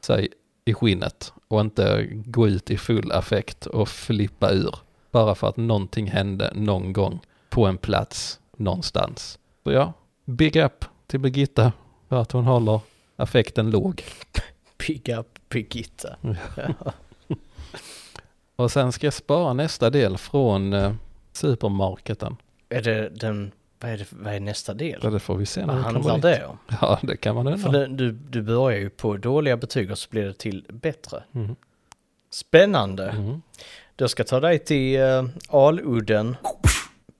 Speaker 1: sig i skinnet och inte gå ut i full affekt och flippa ur. Bara för att någonting hände någon gång på en plats någonstans. Så ja, big up till Birgitta för att hon håller affekten låg.
Speaker 2: Big up Birgitta.
Speaker 1: Och sen ska jag spara nästa del från eh, supermarketen.
Speaker 2: Är det den, vad är, det, vad är nästa
Speaker 1: Ja,
Speaker 2: del?
Speaker 1: det får vi se när
Speaker 2: Vad
Speaker 1: vi
Speaker 2: handlar
Speaker 1: kommer dit.
Speaker 2: det om?
Speaker 1: Ja, det kan man
Speaker 2: För
Speaker 1: undra.
Speaker 2: det, du, du börjar ju på dåliga betyg och så blir det till bättre.
Speaker 1: Mm.
Speaker 2: Spännande.
Speaker 1: Mm.
Speaker 2: Jag ska ta dig till eh, Aludden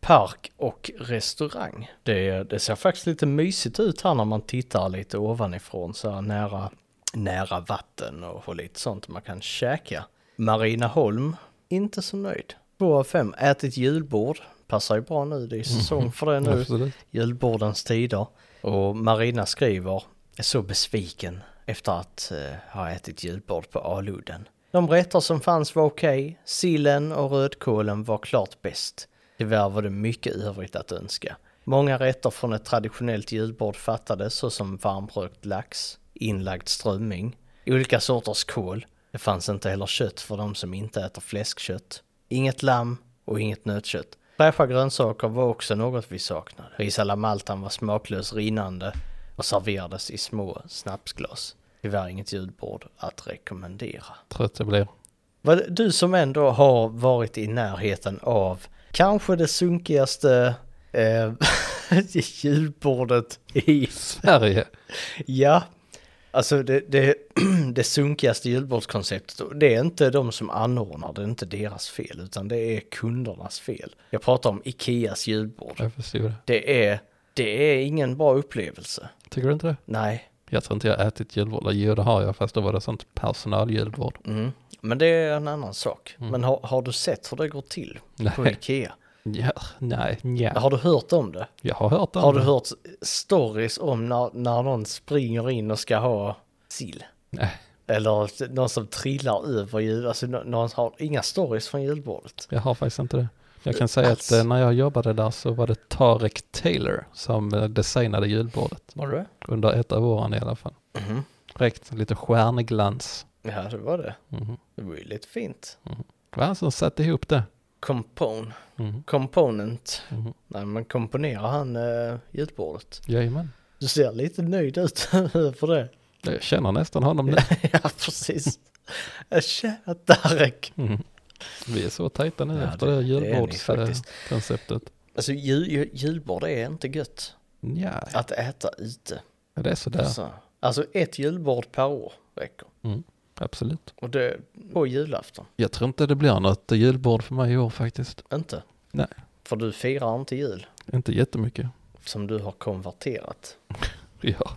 Speaker 2: park och restaurang. Det, det ser faktiskt lite mysigt ut här när man tittar lite ovanifrån så här nära, nära vatten och, och lite sånt man kan käka. Marinaholm, inte så nöjd. Två av fem, ätit julbord. Passar ju bra
Speaker 1: <laughs>
Speaker 2: nu, det är säsong för det nu
Speaker 1: Absolut.
Speaker 2: julbordens tider. Och Marina skriver, är så besviken efter att eh, ha ätit julbord på Aludden. De rätter som fanns var okej, sillen och rödkålen var klart bäst. Tyvärr var det mycket övrigt att önska. Många rätter från ett traditionellt julbord fattades såsom varmrökt lax, inlagd strömming, olika sorters kål. Det fanns inte heller kött för de som inte äter fläskkött. Inget lamm och inget nötkött. Fräscha grönsaker var också något vi saknade. Ris à la maltan var smaklös rinnande och serverades i små snapsglas. Tyvärr inget julbord att rekommendera.
Speaker 1: Trött jag blir.
Speaker 2: Vad- Du som ändå har varit i närheten av kanske det sunkigaste eh, <laughs> julbordet i
Speaker 1: Sverige.
Speaker 2: Ja, alltså det, det, <clears throat> det sunkigaste julbordskonceptet, och det är inte de som anordnar, det är inte deras fel, utan det är kundernas fel. Jag pratar om Ikeas julbord.
Speaker 1: Jag förstår det.
Speaker 2: Det är, det är ingen bra upplevelse.
Speaker 1: Tycker du inte det?
Speaker 2: Nej,
Speaker 1: Jag tror inte jag har ätit julvård. Eller Jo, det har jag, fast då var det sånt personaljulvård.
Speaker 2: mm. men det är en annan sak. Men har, har du sett hur det går till <laughs> på
Speaker 1: Nej,
Speaker 2: Ikea?
Speaker 1: ja, nej, ja.
Speaker 2: Har du hört om det?
Speaker 1: Jag har hört om
Speaker 2: Har du
Speaker 1: det.
Speaker 2: hört stories om när, när någon springer in och ska ha sill?
Speaker 1: Nej,
Speaker 2: Eller någon som trillar över jul, alltså nå- någon har inga stories från julbordet.
Speaker 1: jag har faktiskt inte det. Jag kan säga
Speaker 2: Alltså.
Speaker 1: att eh, när jag jobbade där så var det Tarek Taylor som eh, designade julbordet.
Speaker 2: Var det?
Speaker 1: Under ett av åren i alla fall.
Speaker 2: Mhm.
Speaker 1: Räckt lite stjärnglans.
Speaker 2: Ja, det var det.
Speaker 1: Mhm.
Speaker 2: Det var ju lite fint.
Speaker 1: Det var han som satte ihop det.
Speaker 2: Compone.
Speaker 1: Mhm.
Speaker 2: Component.
Speaker 1: Mhm.
Speaker 2: Nej, men komponerar han eh, julbordet?
Speaker 1: Jajamän.
Speaker 2: Du ser lite nöjd ut <laughs> för det.
Speaker 1: Jag känner nästan honom
Speaker 2: <laughs>
Speaker 1: nu.
Speaker 2: ja, precis. Äh, Jag känner Darek.
Speaker 1: Mhm. Vi är så tajta nu
Speaker 2: Ja,
Speaker 1: efter
Speaker 2: det-
Speaker 1: det,
Speaker 2: det är
Speaker 1: det
Speaker 2: ni faktiskt.
Speaker 1: julbordskonceptet.
Speaker 2: Alltså jul, jul- julbord är inte gött
Speaker 1: Nja,
Speaker 2: att äta ute.
Speaker 1: det är sådär.
Speaker 2: Så. Alltså ett julbord per år räcker.
Speaker 1: Absolut.
Speaker 2: Och det på julafton.
Speaker 1: Jag tror inte det blir något julbord för mig i år faktiskt.
Speaker 2: Inte?
Speaker 1: Nej.
Speaker 2: För du firar inte jul
Speaker 1: Inte jättemycket.
Speaker 2: som du har konverterat <laughs>
Speaker 1: Ja,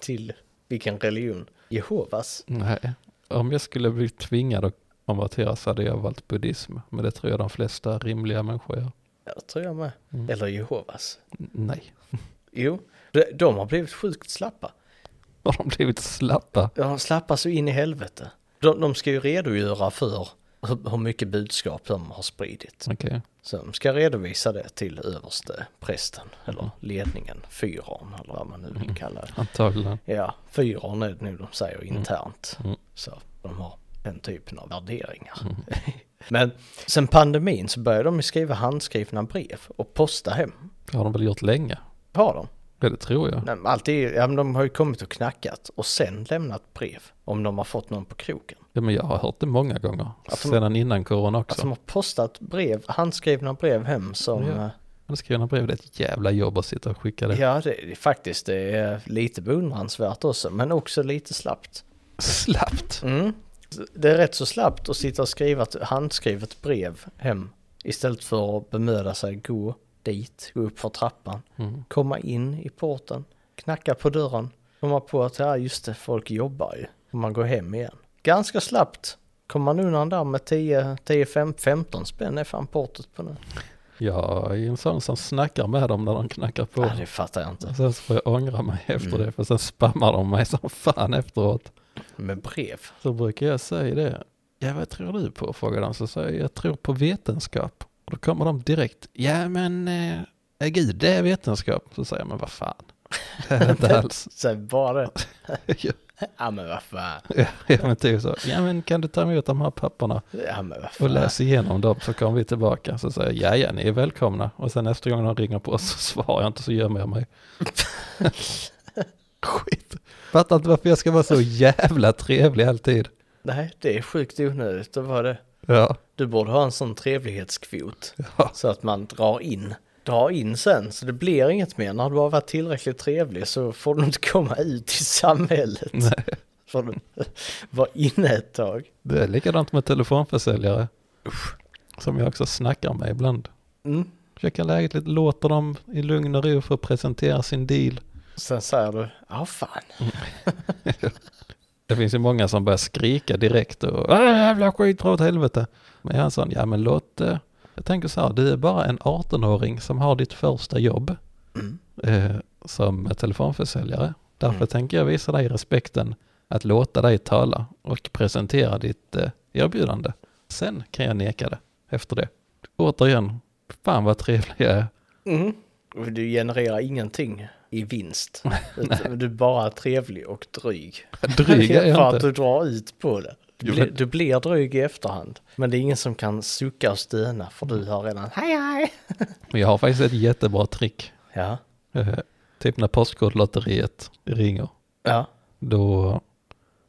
Speaker 2: till vilken religion? Jehovas?
Speaker 1: nej. Om jag skulle bli tvingad att konvertera så hade jag valt buddhism. Men det tror jag de flesta rimliga människor gör.
Speaker 2: Ja, det tror jag med.
Speaker 1: Mm.
Speaker 2: Eller Jehovas.
Speaker 1: N- Nej.
Speaker 2: Jo, de- de har blivit sjukt slappa.
Speaker 1: Har de blivit slappa?
Speaker 2: De slappar så in i helvete. De, de ska ju redogöra för hur, hur mycket budskap de har spridit.
Speaker 1: Okej.
Speaker 2: Så de ska redovisa det till överste prästen
Speaker 1: Mm.
Speaker 2: eller ledningen, fyran eller vad man nu vill kalla det.
Speaker 1: Antagligen.
Speaker 2: Ja, fyran är det nu de säger internt.
Speaker 1: Mm.
Speaker 2: Så de har den typen av värderingar. <laughs> Men sen pandemin så började de ju skriva handskrivna brev och posta hem.
Speaker 1: Det har de väl gjort länge?
Speaker 2: Har de?
Speaker 1: Ja, det tror jag.
Speaker 2: Nej, men alltid, ja, men de har ju kommit och knackat och sen lämnat brev om de har fått någon på kroken.
Speaker 1: Ja, men jag har hört det många gånger.
Speaker 2: Att de-
Speaker 1: Sedan innan corona
Speaker 2: Att de
Speaker 1: också.
Speaker 2: har postat brev, handskrivna brev hem som...
Speaker 1: Ja.
Speaker 2: eh,
Speaker 1: Handskrivna brev, det är ett jävla jobb att sitta och skicka det.
Speaker 2: Ja, det är faktiskt det är lite beundransvärt också, men också lite slappt.
Speaker 1: Slappt.
Speaker 2: Mm. Det är rätt så slappt att sitta och skriva ett handskrivet brev hem istället för att bemöda sig gå dit, gå upp för trappan,
Speaker 1: Mm.
Speaker 2: komma in i porten, knacka på dörren, komma på att ja, just det, folk jobbar ju. Och man går hem igen. Ganska slappt. Kommer man undan där med 10, 10 5, 15 spänn är fan portot på nu.
Speaker 1: Jag är en sån som snackar med dem när de knackar på.
Speaker 2: Ja, det fattar jag inte.
Speaker 1: Och sen så får jag ångra mig <laughs> efter
Speaker 2: Mm.
Speaker 1: det, för sen spammar de mig som fan efteråt.
Speaker 2: Med brev.
Speaker 1: Så brukar jag säga det. Ja, vad tror du på? Frågar de. Så säger jag, jag tror på vetenskap. Och då kommer de direkt. Ja, men eh, eh, gud, det är vetenskap. Så säger jag, men vad fan. <laughs> Det är det inte alls. <laughs>
Speaker 2: Så bara,
Speaker 1: ja,
Speaker 2: <laughs> ja men vad fan.
Speaker 1: ja, men typ så. Ja, men kan du ta emot de här papperna
Speaker 2: Ja men vad
Speaker 1: och
Speaker 2: fan.
Speaker 1: läs igenom dem så kommer vi tillbaka. Så säger jag, ja, ja, ni är välkomna. Och sen nästa gång de ringer på oss så svarar jag inte så gömmer jag mig. Skit. Fattar inte varför jag ska vara så jävla trevlig alltid.
Speaker 2: Nej, det är sjukt onödigt. Det var det.
Speaker 1: Ja,
Speaker 2: Du borde ha en sån trevlighetskvot.
Speaker 1: ja.
Speaker 2: Så att man drar in. Dra in sen, så det blir inget mer. När du har varit tillräckligt trevlig så får du inte komma ut i samhället.
Speaker 1: Nej.
Speaker 2: Får du <laughs> vara inne ett tag.
Speaker 1: Det är likadant med telefonförsäljare. Som jag också snackar med ibland.
Speaker 2: Mm.
Speaker 1: Försöker läget lite, låter dem i lugn och ro få presentera sin deal.
Speaker 2: Sen säger du, ja fan.
Speaker 1: Det finns ju många som börjar skrika direkt och "Äh, jävla skit, dra åt helvete. Men jag är en sån, ja men låt, eh, jag tänker så här, du är bara en 18-åring som har ditt första jobb eh, som telefonförsäljare. Därför
Speaker 2: Mm.
Speaker 1: tänker jag visa dig respekten att låta dig tala och presentera ditt eh, erbjudande. Sen kan jag neka det efter det. Återigen, fan vad trevlig jag är.
Speaker 2: Mm. Och Du genererar ingenting i
Speaker 1: <laughs>
Speaker 2: vinst. Utan du är bara trevlig och dryg.
Speaker 1: Dryg är
Speaker 2: För
Speaker 1: jag
Speaker 2: att
Speaker 1: inte.
Speaker 2: du drar ut på det. Du,
Speaker 1: Jo,
Speaker 2: blir-
Speaker 1: men-
Speaker 2: du blir dryg i efterhand. Men det är ingen som kan sucka och stöna för du har redan hej hej.
Speaker 1: Men jag har faktiskt ett jättebra trick.
Speaker 2: Ja,
Speaker 1: Eh, typ när Postkodlotteriet ringer.
Speaker 2: ja.
Speaker 1: Då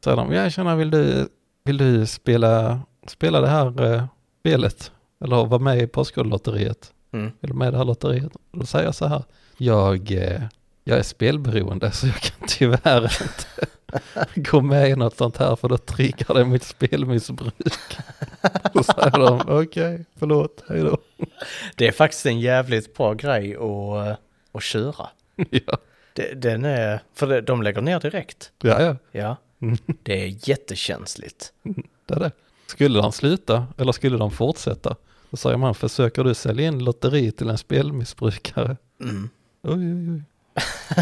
Speaker 1: säger de, ja tjena vill du, vill du spela, spela det här eh, spelet? Eller vara med i Postkodlotteriet?
Speaker 2: Mm.
Speaker 1: Vill du med i det här lotteriet? Och Då säger jag så här, jag, eh, jag är spelberoende så jag kan tyvärr inte <laughs> gå med i något sånt här för då triggar det mitt spelmissbruk. <laughs> Då säger de, okej, förlåt, hej då.
Speaker 2: Det är faktiskt en jävligt bra grej att, eh, att köra.
Speaker 1: <laughs> ja,
Speaker 2: Det- Den är, för det- de lägger ner direkt.
Speaker 1: ja, ja.
Speaker 2: Ja,
Speaker 1: Mm.
Speaker 2: det är jättekänsligt.
Speaker 1: Det är det. Skulle de sluta eller skulle de fortsätta? Då säger man, försöker du sälja in lotteri till en spelmissbrukare? <laughs>
Speaker 2: Mm.
Speaker 1: Oj, oj, oj.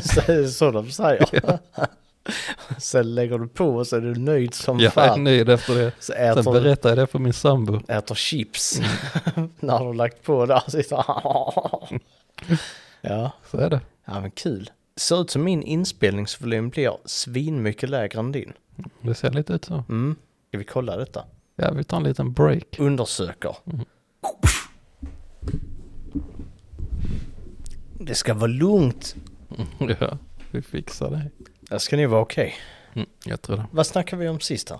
Speaker 2: Så, det är så de säger. <laughs> Sen lägger du på och så är du nöjd som
Speaker 1: Jag är <laughs>
Speaker 2: fan.
Speaker 1: nöjd efter det.
Speaker 2: Så
Speaker 1: Sen
Speaker 2: äter,
Speaker 1: berättar jag det för min sambo.
Speaker 2: äter chips <laughs> när du har lagt på där. Sitter <laughs> ja.
Speaker 1: Så är det.
Speaker 2: Mm. ja, men kul. Ser ut som min inspelningsvolym blir svinmycket lägre än din.
Speaker 1: Det ser lite ut så.
Speaker 2: Mm. Ska vi kolla detta?
Speaker 1: Ja, vi tar en liten break.
Speaker 2: Undersöker. Det ska vara lugnt.
Speaker 1: <laughs> Ja, vi fixar det.
Speaker 2: Det ska nog vara okej.
Speaker 1: Mm, jag tror det.
Speaker 2: Vad snackar vi om sist här?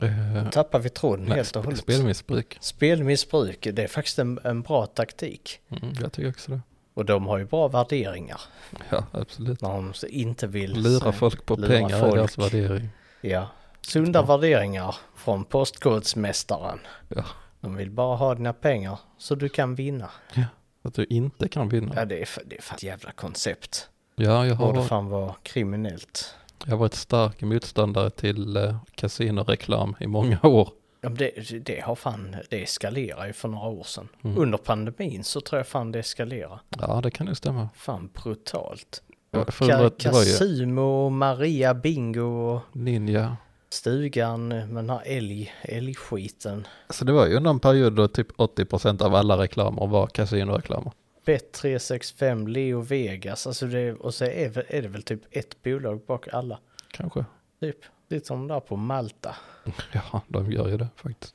Speaker 1: Eh,
Speaker 2: Tappar vi tråden
Speaker 1: nej,
Speaker 2: helt och
Speaker 1: sp-
Speaker 2: hållet?
Speaker 1: spelmissbruk.
Speaker 2: Spelmissbruk, det är faktiskt en, en bra taktik.
Speaker 1: Mm, jag tycker också det.
Speaker 2: Och de har ju bra värderingar
Speaker 1: Ja, absolut.
Speaker 2: när de så inte vill...
Speaker 1: Lura folk på
Speaker 2: lura
Speaker 1: pengar
Speaker 2: folk.
Speaker 1: är deras värdering.
Speaker 2: Ja. Sunda värderingar från Postkodmästaren.
Speaker 1: Ja.
Speaker 2: De vill bara ha dina pengar så du kan vinna.
Speaker 1: Att du inte kan vinna.
Speaker 2: Ja, det är, fa- det är fan ett jävla koncept.
Speaker 1: Ja, jag
Speaker 2: Borde
Speaker 1: har,
Speaker 2: fan vara kriminellt.
Speaker 1: jag har varit stark motståndare till eh, kasinoreklam i många <laughs> år.
Speaker 2: Ja, men det, det har fan, det eskalerar ju för några år sedan.
Speaker 1: Mm.
Speaker 2: Under pandemin så tror jag fan det eskalerar.
Speaker 1: Ja, det kan ju stämma.
Speaker 2: Fan brutalt.
Speaker 1: Ja,
Speaker 2: Och
Speaker 1: för undrat, det var ju-
Speaker 2: Casimo, Maria Bingo,
Speaker 1: Ninja.
Speaker 2: stugan med den här älg, älgskiten.
Speaker 1: Så Alltså, det var ju någon period då typ 80% av alla reklamer var kasinoreklamer.
Speaker 2: Bet365, Leo Vegas, alltså det, och så är, väl- är det väl typ ett bolag bak alla.
Speaker 1: Kanske. <laughs>
Speaker 2: Typ, lite som där på Malta.
Speaker 1: Ja, de gör ju det faktiskt.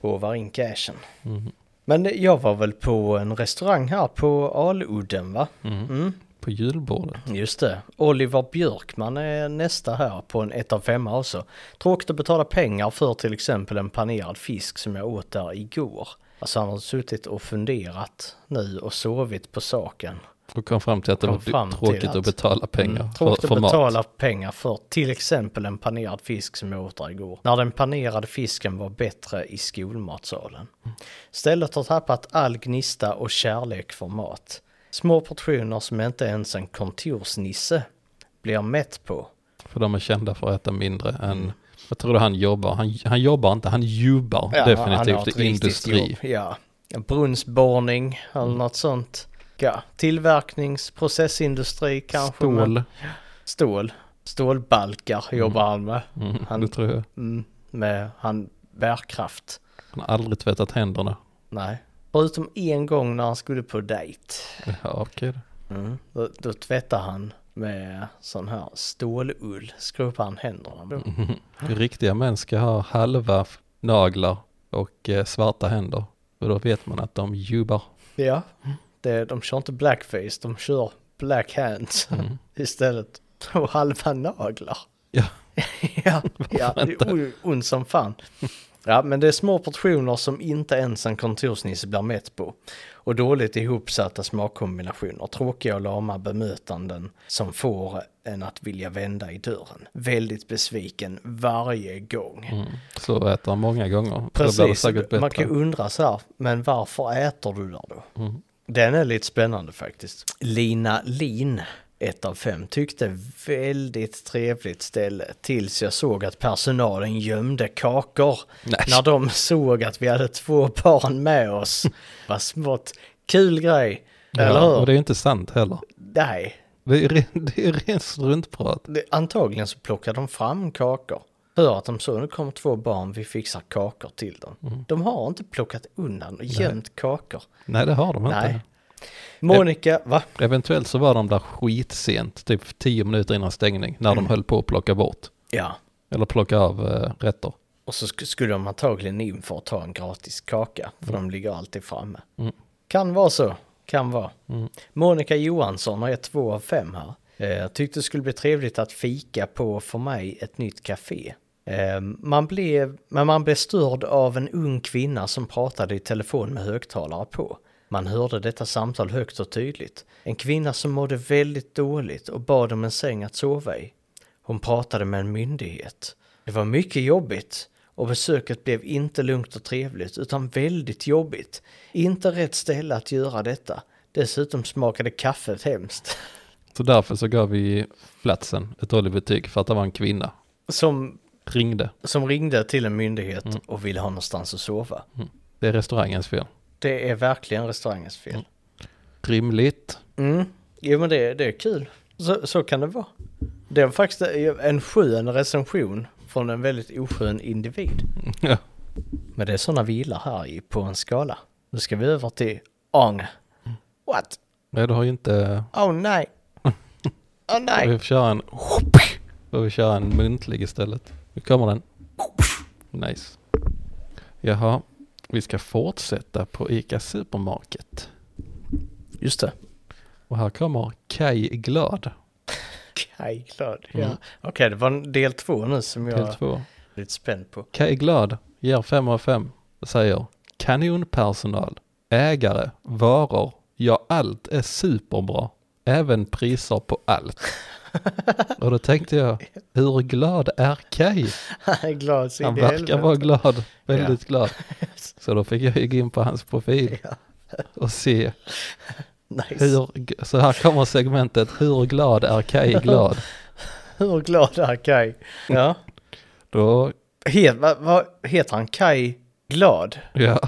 Speaker 2: Håvar in cashen.
Speaker 1: Mhm.
Speaker 2: Men jag var väl på en restaurang här på Aludden va?
Speaker 1: Mm.
Speaker 2: Mm.
Speaker 1: På julbordet.
Speaker 2: Just det. Oliver Björkman är nästa här på en 1 av 5 också. Tråkigt att betala pengar för till exempel en panerad fisk som jag åt där igår. Alltså han har suttit och funderat nu och sovit på saken.
Speaker 1: Och kom fram till att det
Speaker 2: Kom
Speaker 1: var
Speaker 2: fram till
Speaker 1: tråkigt
Speaker 2: att- Mm,
Speaker 1: att betala pengar för,
Speaker 2: Tråkigt
Speaker 1: för
Speaker 2: att
Speaker 1: mat.
Speaker 2: betala pengar för till exempel en panerad fisk som jag åt där igår. När den panerade fisken var bättre i skolmatsalen. Stället har tappat all gnista och kärlek för mat. Små portioner som inte ens en kontorsnisse blir mätt på.
Speaker 1: För de är kända för att äta mindre
Speaker 2: Mm.
Speaker 1: än... Jag tror han jobbar. Han, han jobbar inte, han jubbar
Speaker 2: Ja, han har
Speaker 1: definitivt
Speaker 2: ett
Speaker 1: i
Speaker 2: riktigt
Speaker 1: industri.
Speaker 2: jobb, Ja. brunnsborrning eller något sånt. Ja, tillverkningsprocessindustri kanske. men-
Speaker 1: Stål.
Speaker 2: Stål. Stålbalkar jobbar han med.
Speaker 1: Mm,
Speaker 2: Han-
Speaker 1: Det tror jag.
Speaker 2: Mm, med han bärkraft.
Speaker 1: Han har aldrig tvättat händerna.
Speaker 2: Nej. Förutom en gång när han skulle på dejt.
Speaker 1: Ja, okej då.
Speaker 2: Mm. Då, då tvättar han med sån här stålull. Skrapar han händerna. med.
Speaker 1: Riktiga män ska ha halva f- naglar och eh, svarta händer. För då vet man att de jubbar.
Speaker 2: Ja, det, de kör inte blackface, de kör black hands
Speaker 1: Mm.
Speaker 2: <laughs> istället. Och halva naglar.
Speaker 1: Ja.
Speaker 2: <laughs> ja, ja det är o- ont som fan. Ja, men det är små portioner som inte ens en kontorsnisse blir mätt på. Och dåligt ihopsatta smakkombinationer, tråkiga och lama bemötanden som får en att vilja vända i dörren. Väldigt besviken varje gång.
Speaker 1: Mm. Så äter han många gånger. Precis. Då blir det
Speaker 2: Precis,
Speaker 1: säkert bättre.
Speaker 2: man kan ju undra så här, men varför äter du där då?
Speaker 1: Mm.
Speaker 2: Den är lite spännande faktiskt. Lina Lin, ett av fem, tyckte väldigt trevligt ställe tills jag såg att personalen gömde kakor.
Speaker 1: Nej.
Speaker 2: När de såg att vi hade två barn med
Speaker 1: <laughs>
Speaker 2: oss. Vad smått kul grej, eller
Speaker 1: ja, och
Speaker 2: hur?
Speaker 1: det är ju inte sant heller.
Speaker 2: Nej,
Speaker 1: Det är, ren, det är rent struntprat.
Speaker 2: det, antagligen så plockade de fram kakor. För att de såg nu kommer två barn, vi fixar kakor till dem. De har inte plockat undan och gömt kakor.
Speaker 1: Nej, det har de inte.
Speaker 2: Nej. Monica, va?
Speaker 1: Eventuellt så var de där skitsent, typ tio minuter innan stängning, när
Speaker 2: Mm.
Speaker 1: de höll på att plocka bort.
Speaker 2: Ja.
Speaker 1: Eller plocka av eh, rätter.
Speaker 2: Och så sk- skulle de antagligen in för att ta en gratis kaka, för de ligger alltid framme.
Speaker 1: Mm.
Speaker 2: Kan vara så, kan vara.
Speaker 1: Mm.
Speaker 2: Monica Johansson har ett två av fem här. Eh, tyckte det skulle bli trevligt att fika på, för mig, ett nytt café. Eh, man blev, men man blev störd av en ung kvinna som pratade i telefon med högtalare på. Man hörde detta samtal högt och tydligt. En kvinna som mådde väldigt dåligt och bad om en säng att sova i. Hon pratade med en myndighet. Det var mycket jobbigt och besöket blev inte lugnt och trevligt utan väldigt jobbigt. Inte rätt ställe att göra detta. Dessutom smakade kaffet hemskt.
Speaker 1: Så därför så gav vi platsen ett dåligt betyg för att det var en kvinna.
Speaker 2: Som,
Speaker 1: Ringde.
Speaker 2: som ringde till en myndighet och ville ha någonstans att sova.
Speaker 1: Det är restaurangens fel.
Speaker 2: Det är verkligen restaurangens fel.
Speaker 1: Rimligt. <laughs>
Speaker 2: Mm. Jo men det, det är kul. Så, så kan det vara. Det är faktiskt en skön recension från en väldigt oskön individ.
Speaker 1: Ja.
Speaker 2: Men det är sådana vi gillar här i, på en skala. Nu ska vi över till ång.
Speaker 1: Mm.
Speaker 2: What?
Speaker 1: Nej, du har ju inte... <laughs>
Speaker 2: Oh nej. Oh nej.
Speaker 1: Vi får köra en... Och vi kör en muntlig istället. Nu kommer den. Nice. Jaha, vi ska fortsätta på ICA Supermarket.
Speaker 2: Just det.
Speaker 1: Och här kommer Kai Glad,
Speaker 2: Kaj, glad. Ja.
Speaker 1: Mm.
Speaker 2: Okej, det var en del två nu som jag
Speaker 1: del
Speaker 2: är
Speaker 1: två.
Speaker 2: lite spänd på. <laughs>
Speaker 1: Kaj Glad ger 5 av 5 och säger kanonpersonal, ägare, varor, ja allt är superbra, även priser på allt.
Speaker 2: <laughs>
Speaker 1: och då tänkte jag, hur glad är Kaj?
Speaker 2: Han är glad så
Speaker 1: Han
Speaker 2: in i
Speaker 1: verkar vara
Speaker 2: helvete.
Speaker 1: glad, väldigt
Speaker 2: <laughs>
Speaker 1: glad. Så då fick jag ju gå in på hans profil
Speaker 2: Ja.
Speaker 1: och se
Speaker 2: Nice. Hur,
Speaker 1: hur, så här kommer segmentet, hur glad är Kaj
Speaker 2: <laughs>
Speaker 1: glad?
Speaker 2: glad är Kaj? Ja.
Speaker 1: Då,
Speaker 2: Het, vad, vad heter han? Kaj Glad? <laughs>
Speaker 1: ja,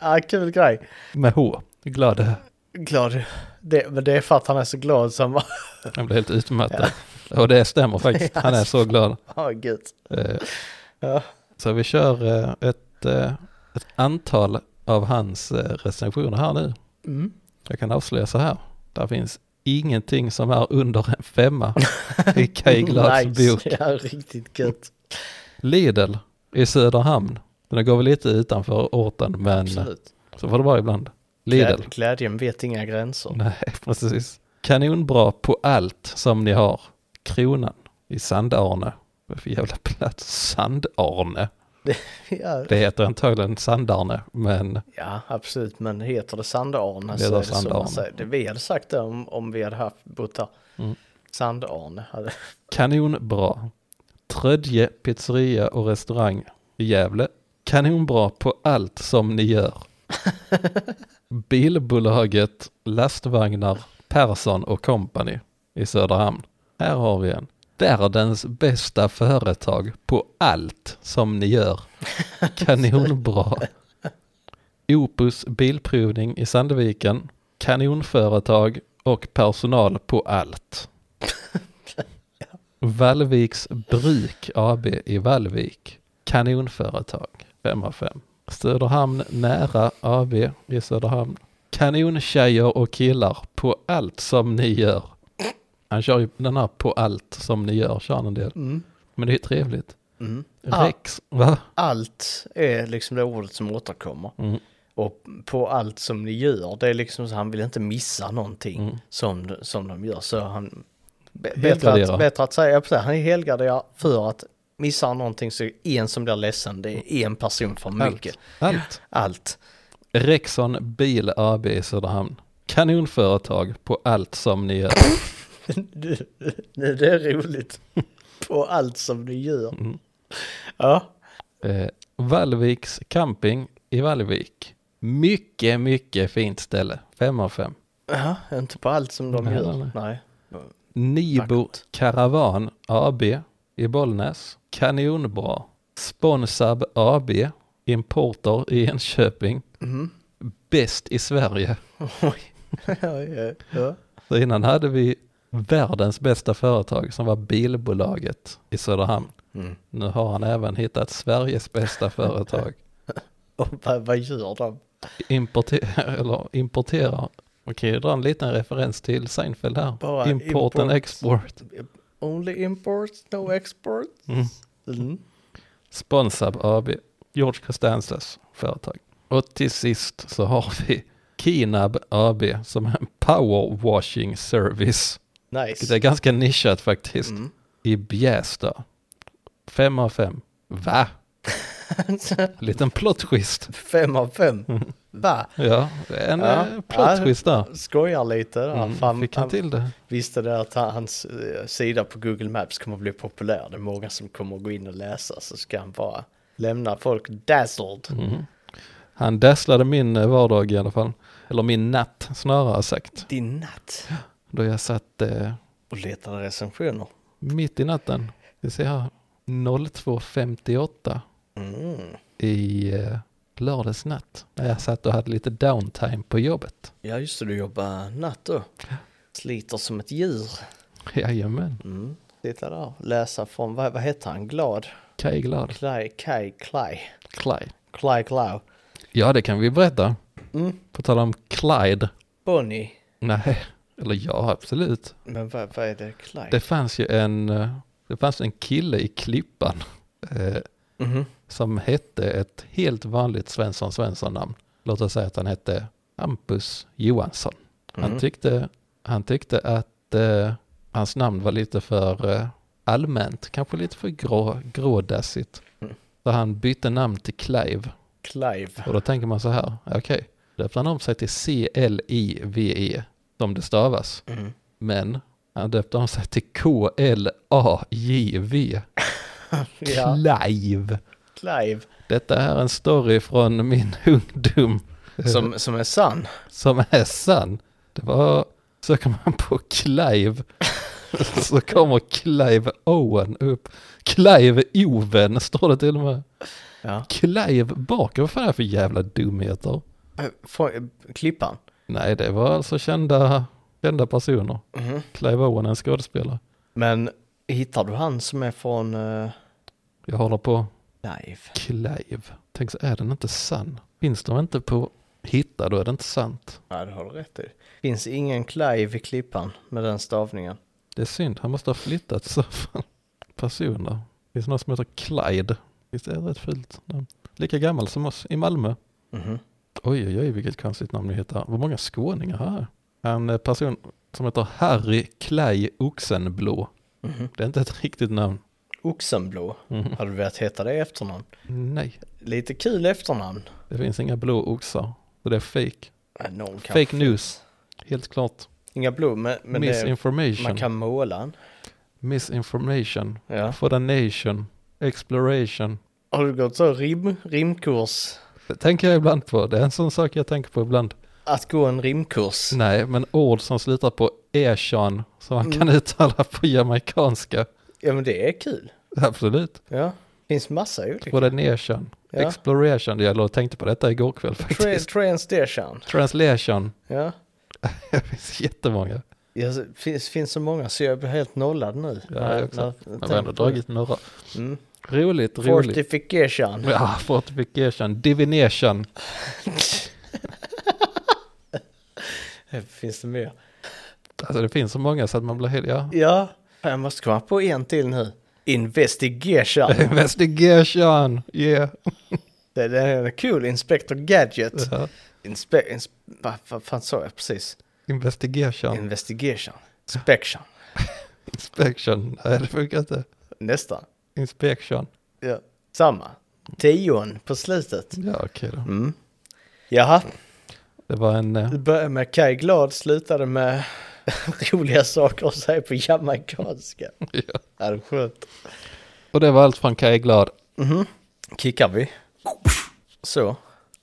Speaker 2: ja, kul grej.
Speaker 1: med H, glad.
Speaker 2: Glad. Det, men det är för att han är så glad som... <laughs>
Speaker 1: Han blev helt utmattad. Och det stämmer faktiskt, han är så glad.
Speaker 2: Åh gud.
Speaker 1: Eh,
Speaker 2: Ja.
Speaker 1: Så vi kör eh, ett, eh, ett antal av hans eh, recensioner här nu.
Speaker 2: Mm.
Speaker 1: Jag kan avslöja så här. Där finns ingenting som är under en femma i Kaj Glads bok.
Speaker 2: Ja, riktigt gött.
Speaker 1: Lidl i Söderhamn. Den går väl lite utanför orten men
Speaker 2: Absolut.
Speaker 1: så får det vara ibland. Mm. Lidl.
Speaker 2: Gläd, glädjen vet
Speaker 1: <laughs>
Speaker 2: inga gränser.
Speaker 1: Nej, precis. Kanonbra på allt som ni har. Kronan i Sandarne. Vad för jävla plats? Sandarne.
Speaker 2: Ja,
Speaker 1: Det heter antagligen Sandarne men
Speaker 2: ja absolut. Men heter det Sandarne
Speaker 1: Det
Speaker 2: så
Speaker 1: heter
Speaker 2: är det som
Speaker 1: Sandarne.
Speaker 2: man säger. Det vi hade sagt det om, om vi hade haft bott där.
Speaker 1: Mm.
Speaker 2: Sandarne hade...
Speaker 1: Kanonbra. Trödje pizzeria och restaurang i Gävle. Kanonbra på allt som ni gör. Bilbolaget, lastvagnar, Persson och Company i Söderhamn. Här har vi en. Världens bästa företag på allt som ni gör. Kanonbra. Opus Bilprovning i Sandviken, kanonföretag och personal på allt. Vallviks Bruk AB i Vallvik, kanonföretag, 5 av 5. Söderhamn Nära AB i Söderhamn, kanontjejer och killar på allt som ni gör. Han kör ju den här på allt som ni gör, kör han en del.
Speaker 2: Mm.
Speaker 1: Men det är ju trevligt.
Speaker 2: Mm. Ah.
Speaker 1: Rex, va?
Speaker 2: Allt är liksom det ordet som återkommer.
Speaker 1: Mm.
Speaker 2: Och på allt som ni gör, det är liksom så han vill inte missa någonting
Speaker 1: Mm.
Speaker 2: som, som de gör. Så han... b- Bättre
Speaker 1: Helgardera.
Speaker 2: att, bättre att säga, jag säga, han är helgarderad för att missar han någonting så är det en som blir ledsen, det är en person för mycket.
Speaker 1: Allt. allt.
Speaker 2: Allt. <laughs>
Speaker 1: Rexon Bil AB i Söderhamn. Kanonföretag på allt som ni gör.
Speaker 2: Nu- nu det är roligt. På allt som ni gör.
Speaker 1: Mm.
Speaker 2: Ja.
Speaker 1: Eh, Vallviks camping i Vallvik. Mycket, mycket fint ställe. Fem av fem.
Speaker 2: ja, inte på allt som de
Speaker 1: Nej,
Speaker 2: gör.
Speaker 1: nej,
Speaker 2: Nej.
Speaker 1: Nibo
Speaker 2: Vackert.
Speaker 1: Caravan AB i Bollnäs. Kanonbra. Sponsab AB. Importer i Enköping.
Speaker 2: Mm.
Speaker 1: Bäst i Sverige.
Speaker 2: Oj. <laughs> Ja, ja, ja.
Speaker 1: Så innan hade vi världens bästa företag som var bilbolaget i Söderhamn.
Speaker 2: Mm.
Speaker 1: Nu har han även hittat Sveriges bästa företag.
Speaker 2: Och vad, vad gör de?
Speaker 1: Importerar, <laughs> eller importerar. Man kan ju dra en liten referens till Seinfeld här.
Speaker 2: Bara
Speaker 1: import,
Speaker 2: import.
Speaker 1: and export.
Speaker 2: Only import, no export.
Speaker 1: Mm.
Speaker 2: Mm.
Speaker 1: Sponsab AB, George Costanzas företag. Och till sist så har vi Kinab AB som är en powerwashing service. Det är
Speaker 2: Nice.
Speaker 1: ganska nischat faktiskt.
Speaker 2: Mm.
Speaker 1: I Bjästa. Fem av fem. Va? Liten plot twist.
Speaker 2: <laughs> fem av fem.
Speaker 1: Mm.
Speaker 2: Va?
Speaker 1: Ja, en
Speaker 2: Ja.
Speaker 1: eh, plot twist där.
Speaker 2: Skojar lite där.
Speaker 1: Mm,
Speaker 2: Fan,
Speaker 1: fick han
Speaker 2: han
Speaker 1: till det.
Speaker 2: visste det att han- hans eh, sida på Google Maps kommer att bli populär. Det är många som kommer att gå in och läsa så ska han bara lämna folk dazzled.
Speaker 1: Mm. Han dasslade min eh, vardag i alla fall. Eller min natt snarare sagt.
Speaker 2: Din natt.
Speaker 1: Då jag satt eh,
Speaker 2: Och letade recensioner.
Speaker 1: mitt i natten. Vi ser här. 02.58
Speaker 2: Mm.
Speaker 1: i eh, lördags natt. När jag satt och hade lite downtime på jobbet.
Speaker 2: Ja just det, du jobbar natt då. Sliter som ett djur.
Speaker 1: Jajamän.
Speaker 2: Mm. Sitta där och läsa från, vad, vad heter han, Glad?
Speaker 1: Kaj glad.
Speaker 2: Klaj, Kaj, Klaj.
Speaker 1: Clyde.
Speaker 2: Klaj, Klau.
Speaker 1: Ja, det kan vi berätta.
Speaker 2: Mm.
Speaker 1: På tal om Clyde.
Speaker 2: Bonnie.
Speaker 1: Nej, eller ja, absolut.
Speaker 2: Men vad, vad är det, Klaj?
Speaker 1: Det fanns ju en, eh, det fanns en kille i Klippan eh,
Speaker 2: Mhm.
Speaker 1: som hette ett helt vanligt Svensson Svensson-namn. Låt oss säga att han hette Hampus Johansson. Han,
Speaker 2: Mhm.
Speaker 1: tyckte, han tyckte att eh, hans namn var lite för eh, allmänt, kanske lite för grå, grådassigt.
Speaker 2: Mm.
Speaker 1: Så han bytte namn till Clive.
Speaker 2: Clive.
Speaker 1: Och då tänker man så här, okej, döpte han om sig till C-L-I-V-E, E, som det stavas.
Speaker 2: Mm.
Speaker 1: Men han döpte om sig till K-L-A-J-V.
Speaker 2: <laughs> Ja,
Speaker 1: Clive.
Speaker 2: Clive.
Speaker 1: Detta är en story från min <laughs> ungdom
Speaker 2: <laughs>
Speaker 1: som,
Speaker 2: Som, som är sann.
Speaker 1: som är sann. Det var, söker man på Clive <laughs> så kommer Clive Owen upp. Clive Oven står det till och med.
Speaker 2: Ja.
Speaker 1: Clive Barker, vad fan är det för jävla dumheter?
Speaker 2: Från, Eh, klippan.
Speaker 1: Nej, det var alltså kända, kända personer.
Speaker 2: Mhm.
Speaker 1: Clive Owen är en skådespelare.
Speaker 2: Men hittar du han som är från eh,
Speaker 1: Jag håller på
Speaker 2: Clive?
Speaker 1: Clive. Tänk så är den inte sann. Finns de inte på hitta, då är det inte sant.
Speaker 2: Ja, det har du rätt i. Finns ingen Clive i klippan med den stavningen.
Speaker 1: Det är synd, han måste ha flyttat så fan. Personer. Finns det någon som heter Clyde? Visst är det ett fult namn? Lika gammal som oss i Malmö.
Speaker 2: Mhm.
Speaker 1: Oj, oj, oj, vilket konstigt namn ni hittar. Vad många skåningar här. En eh, person som heter Harry Clay Oxenblå.
Speaker 2: Mhm.
Speaker 1: Det är inte ett riktigt namn.
Speaker 2: Oxenblå.
Speaker 1: Mhm.
Speaker 2: Hade du velat heta det i efternamn?
Speaker 1: <laughs> Nej,
Speaker 2: Lite kul efternamn.
Speaker 1: det finns inga blå oxar. Så det är fake.
Speaker 2: Nej, någon kan.
Speaker 1: Fake news. Helt klart.
Speaker 2: Inga blå, men, men det, man
Speaker 1: Misinformation.
Speaker 2: kan måla en.
Speaker 1: Misinformation.
Speaker 2: Ja.
Speaker 1: For the nation. Exploration.
Speaker 2: Har du gått så rim, rimkurs?
Speaker 1: Det tänker jag ibland på. Det är en sån sak jag tänker på ibland.
Speaker 2: Att gå en rimkurs?
Speaker 1: Nej, men ord som slutar på echan som man kan uttala på jamaicanska.
Speaker 2: Ja, men det är kul.
Speaker 1: Absolut.
Speaker 2: Ja. Finns massa olika.
Speaker 1: For the nation.
Speaker 2: Ja.
Speaker 1: Exploration, jag låg och tänkte på detta igår kväll
Speaker 2: Tra-
Speaker 1: faktiskt.
Speaker 2: Translation.
Speaker 1: Translation, <laughs>
Speaker 2: Ja.
Speaker 1: det finns jättemånga.
Speaker 2: Det finns, finns så många så jag blir helt nollad nu.
Speaker 1: Ja, jag också.
Speaker 2: jag
Speaker 1: Jag har ändå
Speaker 2: tänker på
Speaker 1: dragit några.
Speaker 2: det. Mm.
Speaker 1: Roligt, roligt.
Speaker 2: Fortification.
Speaker 1: Ja, fortification, divination.
Speaker 2: <laughs> Finns det mer?
Speaker 1: Alltså det finns så många så att man blir helt, ja.
Speaker 2: Ja, jag måste komma på en till nu. Investigation.
Speaker 1: <laughs> Investigation, <laughs> yeah.
Speaker 2: det, det är en cool Inspector Gadget.
Speaker 1: Ja.
Speaker 2: Inspe- ins- vad, vad fan sa jag precis?
Speaker 1: Investigation,
Speaker 2: Investigation. Inspection.
Speaker 1: inspection, nej det funkar inte.
Speaker 2: Nästan.
Speaker 1: Inspection,
Speaker 2: Ja. Samma. Tion på slutet.
Speaker 1: ja okej då.
Speaker 2: Mm. Jaha,
Speaker 1: Det var en, eh, <laughs>
Speaker 2: det började med Kaj Glad, slutade med <laughs> roliga saker att säga på jamaicanska.
Speaker 1: ja.
Speaker 2: Ja, det är skönt.
Speaker 1: och det var allt från Kaj Glad.
Speaker 2: Mhm. Kickar vi. Så.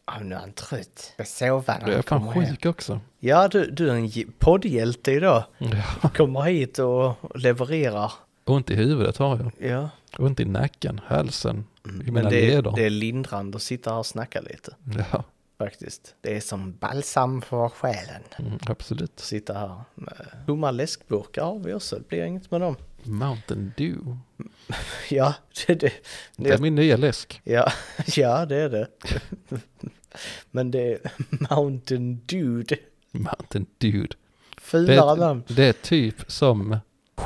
Speaker 2: Ja, nu är han trött. Jag ska sova när
Speaker 1: Du är
Speaker 2: han
Speaker 1: fan
Speaker 2: kommer hem.
Speaker 1: sjuk också.
Speaker 2: Ja, du, du är en j- poddhjälte idag.
Speaker 1: Ja. <laughs>
Speaker 2: Kommer hit och levererar.
Speaker 1: Ont i huvudet har jag,
Speaker 2: Ja.
Speaker 1: ont i nacken, halsen, i
Speaker 2: Mm, Men
Speaker 1: mina
Speaker 2: det,
Speaker 1: leder.
Speaker 2: det är lindrande att sitta här och snacka lite.
Speaker 1: Ja,
Speaker 2: Faktiskt. Det är som balsam för själen.
Speaker 1: mm, absolut.
Speaker 2: Sitta här med tomma läskburkar har vi också. Det blir inget med dem.
Speaker 1: Mountain Dew.
Speaker 2: Ja, <laughs> det, det,
Speaker 1: Det är
Speaker 2: det,
Speaker 1: min nya läsk.
Speaker 2: ja, <laughs> ja, det är det. Men det är Mountain Dude.
Speaker 1: Mountain Dew. Det
Speaker 2: Fulare namn.
Speaker 1: är, det är typ som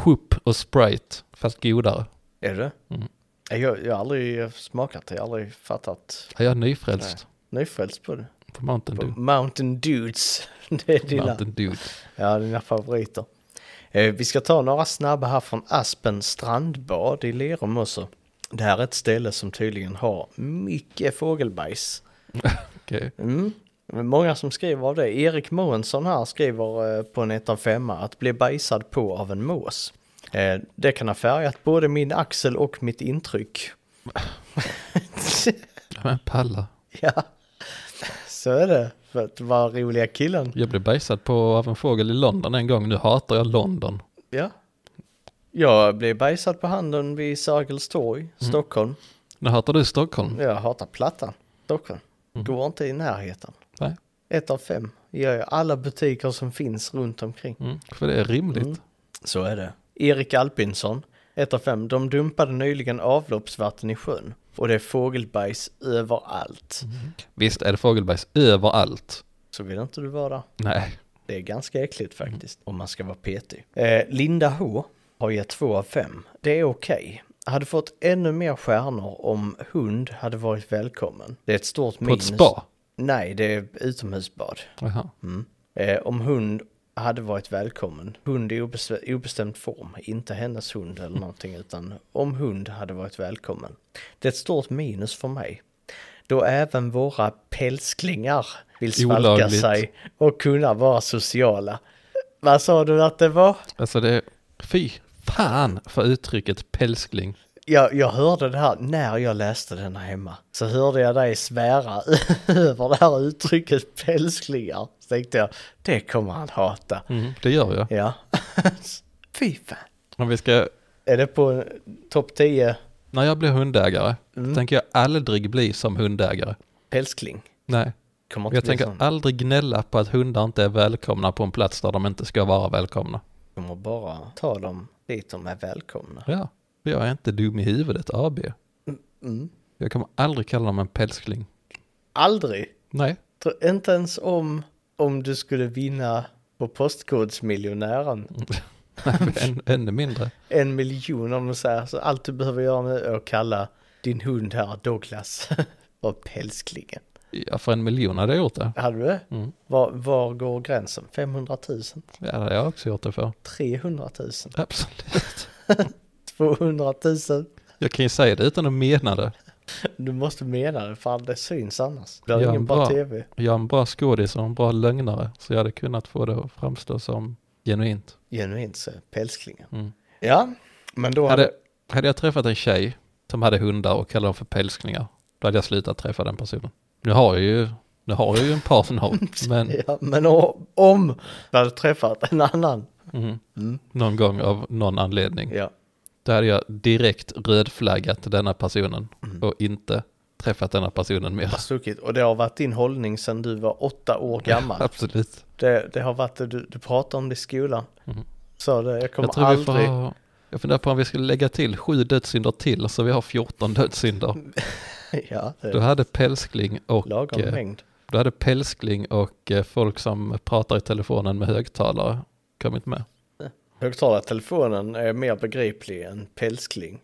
Speaker 1: Chup och Sprite, fast godare.
Speaker 2: Är det?
Speaker 1: Mm.
Speaker 2: Jag, jag har aldrig smakat det, jag har aldrig fattat.
Speaker 1: Ja, Jag är nyfrälst
Speaker 2: Nyfrälst på det.
Speaker 1: på Mountain
Speaker 2: På
Speaker 1: Dew.
Speaker 2: Mountain Dudes. <laughs> Det är dina,
Speaker 1: Mountain Dew.
Speaker 2: ja, dina favoriter. Eh, vi ska ta några snabba här från Aspen strandbad i Lerum också. Det här är ett ställe som tydligen har mycket fågelbajs.
Speaker 1: Okej.
Speaker 2: Mm. Det är Många som skriver av det. Erik Månsson här skriver eh, på en 1 av 5 att bli bajsad på av en mås. Eh, Det kan ha färgat både min axel och mitt intryck. <laughs>
Speaker 1: Ja, Men palla.
Speaker 2: ja, så är det. För att vara roliga killen.
Speaker 1: Jag blev bajsad på av en fågel i London en gång. Nu hatar jag London.
Speaker 2: Ja. Jag blev bajsad på handen vid Sergels torg, Stockholm.
Speaker 1: Nu hatar du Stockholm.
Speaker 2: Jag hatar Plattan, Stockholm. Går inte i närheten.
Speaker 1: Nej.
Speaker 2: Ett av fem gör jag alla butiker som finns runt omkring.
Speaker 1: Mm, för det är rimligt.
Speaker 2: Så är det. Erik Alpinsson, 1 av 5. De dumpade nyligen avloppsvatten i sjön. Och det är fågelbajs överallt.
Speaker 1: Visst är det fågelbajs överallt.
Speaker 2: Så vill inte du vara där.
Speaker 1: Nej.
Speaker 2: Det är ganska äckligt faktiskt, om man ska vara petig. Eh, Linda H har gett 2 av 5. Det är okej. Hade fått ännu mer stjärnor om hund hade varit välkommen. Det är ett stort
Speaker 1: På
Speaker 2: minus.
Speaker 1: ett spa.
Speaker 2: Nej, det är utomhusbad.
Speaker 1: Jaha.
Speaker 2: Mm. Eh, om hund hade varit välkommen. Hund i obes- obestämd form, inte hennes hund eller någonting, utan om hund hade varit välkommen. Det är ett stort minus för mig. Då även våra pälsklingar vill svalka
Speaker 1: Olagligt.
Speaker 2: sig och kunna vara sociala. Vad sa du att det var?
Speaker 1: Alltså det är... Fy fan för uttrycket pälskling.
Speaker 2: Jag, jag hörde det här när jag läste den här hemma. Så hörde jag dig svära <laughs> över det här uttrycket pälsklingar. Så tänkte jag, det kommer han hata.
Speaker 1: Mm, det gör jag.
Speaker 2: Ja. <laughs> Fy fan.
Speaker 1: Om vi ska...
Speaker 2: Är det på topp 10
Speaker 1: När jag blir hundägare
Speaker 2: Mm.
Speaker 1: tänker jag aldrig bli som hundägare.
Speaker 2: pälskling?
Speaker 1: Nej.
Speaker 2: Kommer
Speaker 1: Jag
Speaker 2: inte bli
Speaker 1: tänker
Speaker 2: sån.
Speaker 1: aldrig gnälla på att hundar inte är välkomna på en plats där de inte ska vara välkomna.
Speaker 2: Kommer bara ta dem dit de är välkomna.
Speaker 1: Ja, för jag är inte dum i huvudet AB. Jag kommer aldrig kalla dem en pälskling.
Speaker 2: Aldrig.
Speaker 1: Nej,
Speaker 2: Tror- Inte ens om, om du skulle vinna på Postkodsmiljonären.
Speaker 1: Mm. <laughs> Än, ännu mindre.
Speaker 2: En miljon om du säger så. Allt du behöver göra nu är att kalla din hund här Douglas <laughs> för pälsklingen.
Speaker 1: Ja, för en miljon hade jag gjort det.
Speaker 2: Hade du det?
Speaker 1: Mm.
Speaker 2: Var, var går gränsen? 500 000?
Speaker 1: Ja, det hade jag också gjort det för.
Speaker 2: 300 000?
Speaker 1: Absolut. <laughs>
Speaker 2: 200 000?
Speaker 1: Jag kan ju säga det utan att mena det.
Speaker 2: Du måste mena det, för det syns annars. Det
Speaker 1: Ja,
Speaker 2: är ingen bra
Speaker 1: bra.
Speaker 2: tv.
Speaker 1: Jag är en bra skådis och en bra lögnare, så jag hade kunnat få det att framstå som genuint.
Speaker 2: Genuint så, pälsklingar.
Speaker 1: Mm.
Speaker 2: Ja, men då hade...
Speaker 1: Hade, hade jag träffat en tjej som hade hundar och kallade dem för pälskningar, då hade jag slutat träffa den personen. Nu har jag ju, nu har jag ju en partner, <laughs> men
Speaker 2: <laughs> Ja, men o- om du hade träffat en annan.
Speaker 1: mm, någon gång av någon anledning,
Speaker 2: Ja,
Speaker 1: Mm. då hade jag direkt rödflaggat denna personen och inte träffat denna personen mer.
Speaker 2: har stuckit. Och det har varit din hållning sedan du var åtta år
Speaker 1: <laughs>
Speaker 2: gammal.
Speaker 1: Absolut.
Speaker 2: Det, det har varit det du, du pratade om det i skolan.
Speaker 1: Mm.
Speaker 2: Så det, jag kommer
Speaker 1: Jag tror vi får
Speaker 2: aldrig...
Speaker 1: ha, jag funderar på om vi skulle lägga till sju dödssynder till så vi har 14 dödssynder.
Speaker 2: <laughs> ja, <laughs> det
Speaker 1: Du
Speaker 2: är
Speaker 1: hade pälskling och,
Speaker 2: lagom
Speaker 1: eh,
Speaker 2: mängd.
Speaker 1: du hade pälskling och eh, folk som pratar i telefonen med högtalare kom inte med.
Speaker 2: Högtalartelefonen är mer begriplig än pälskling.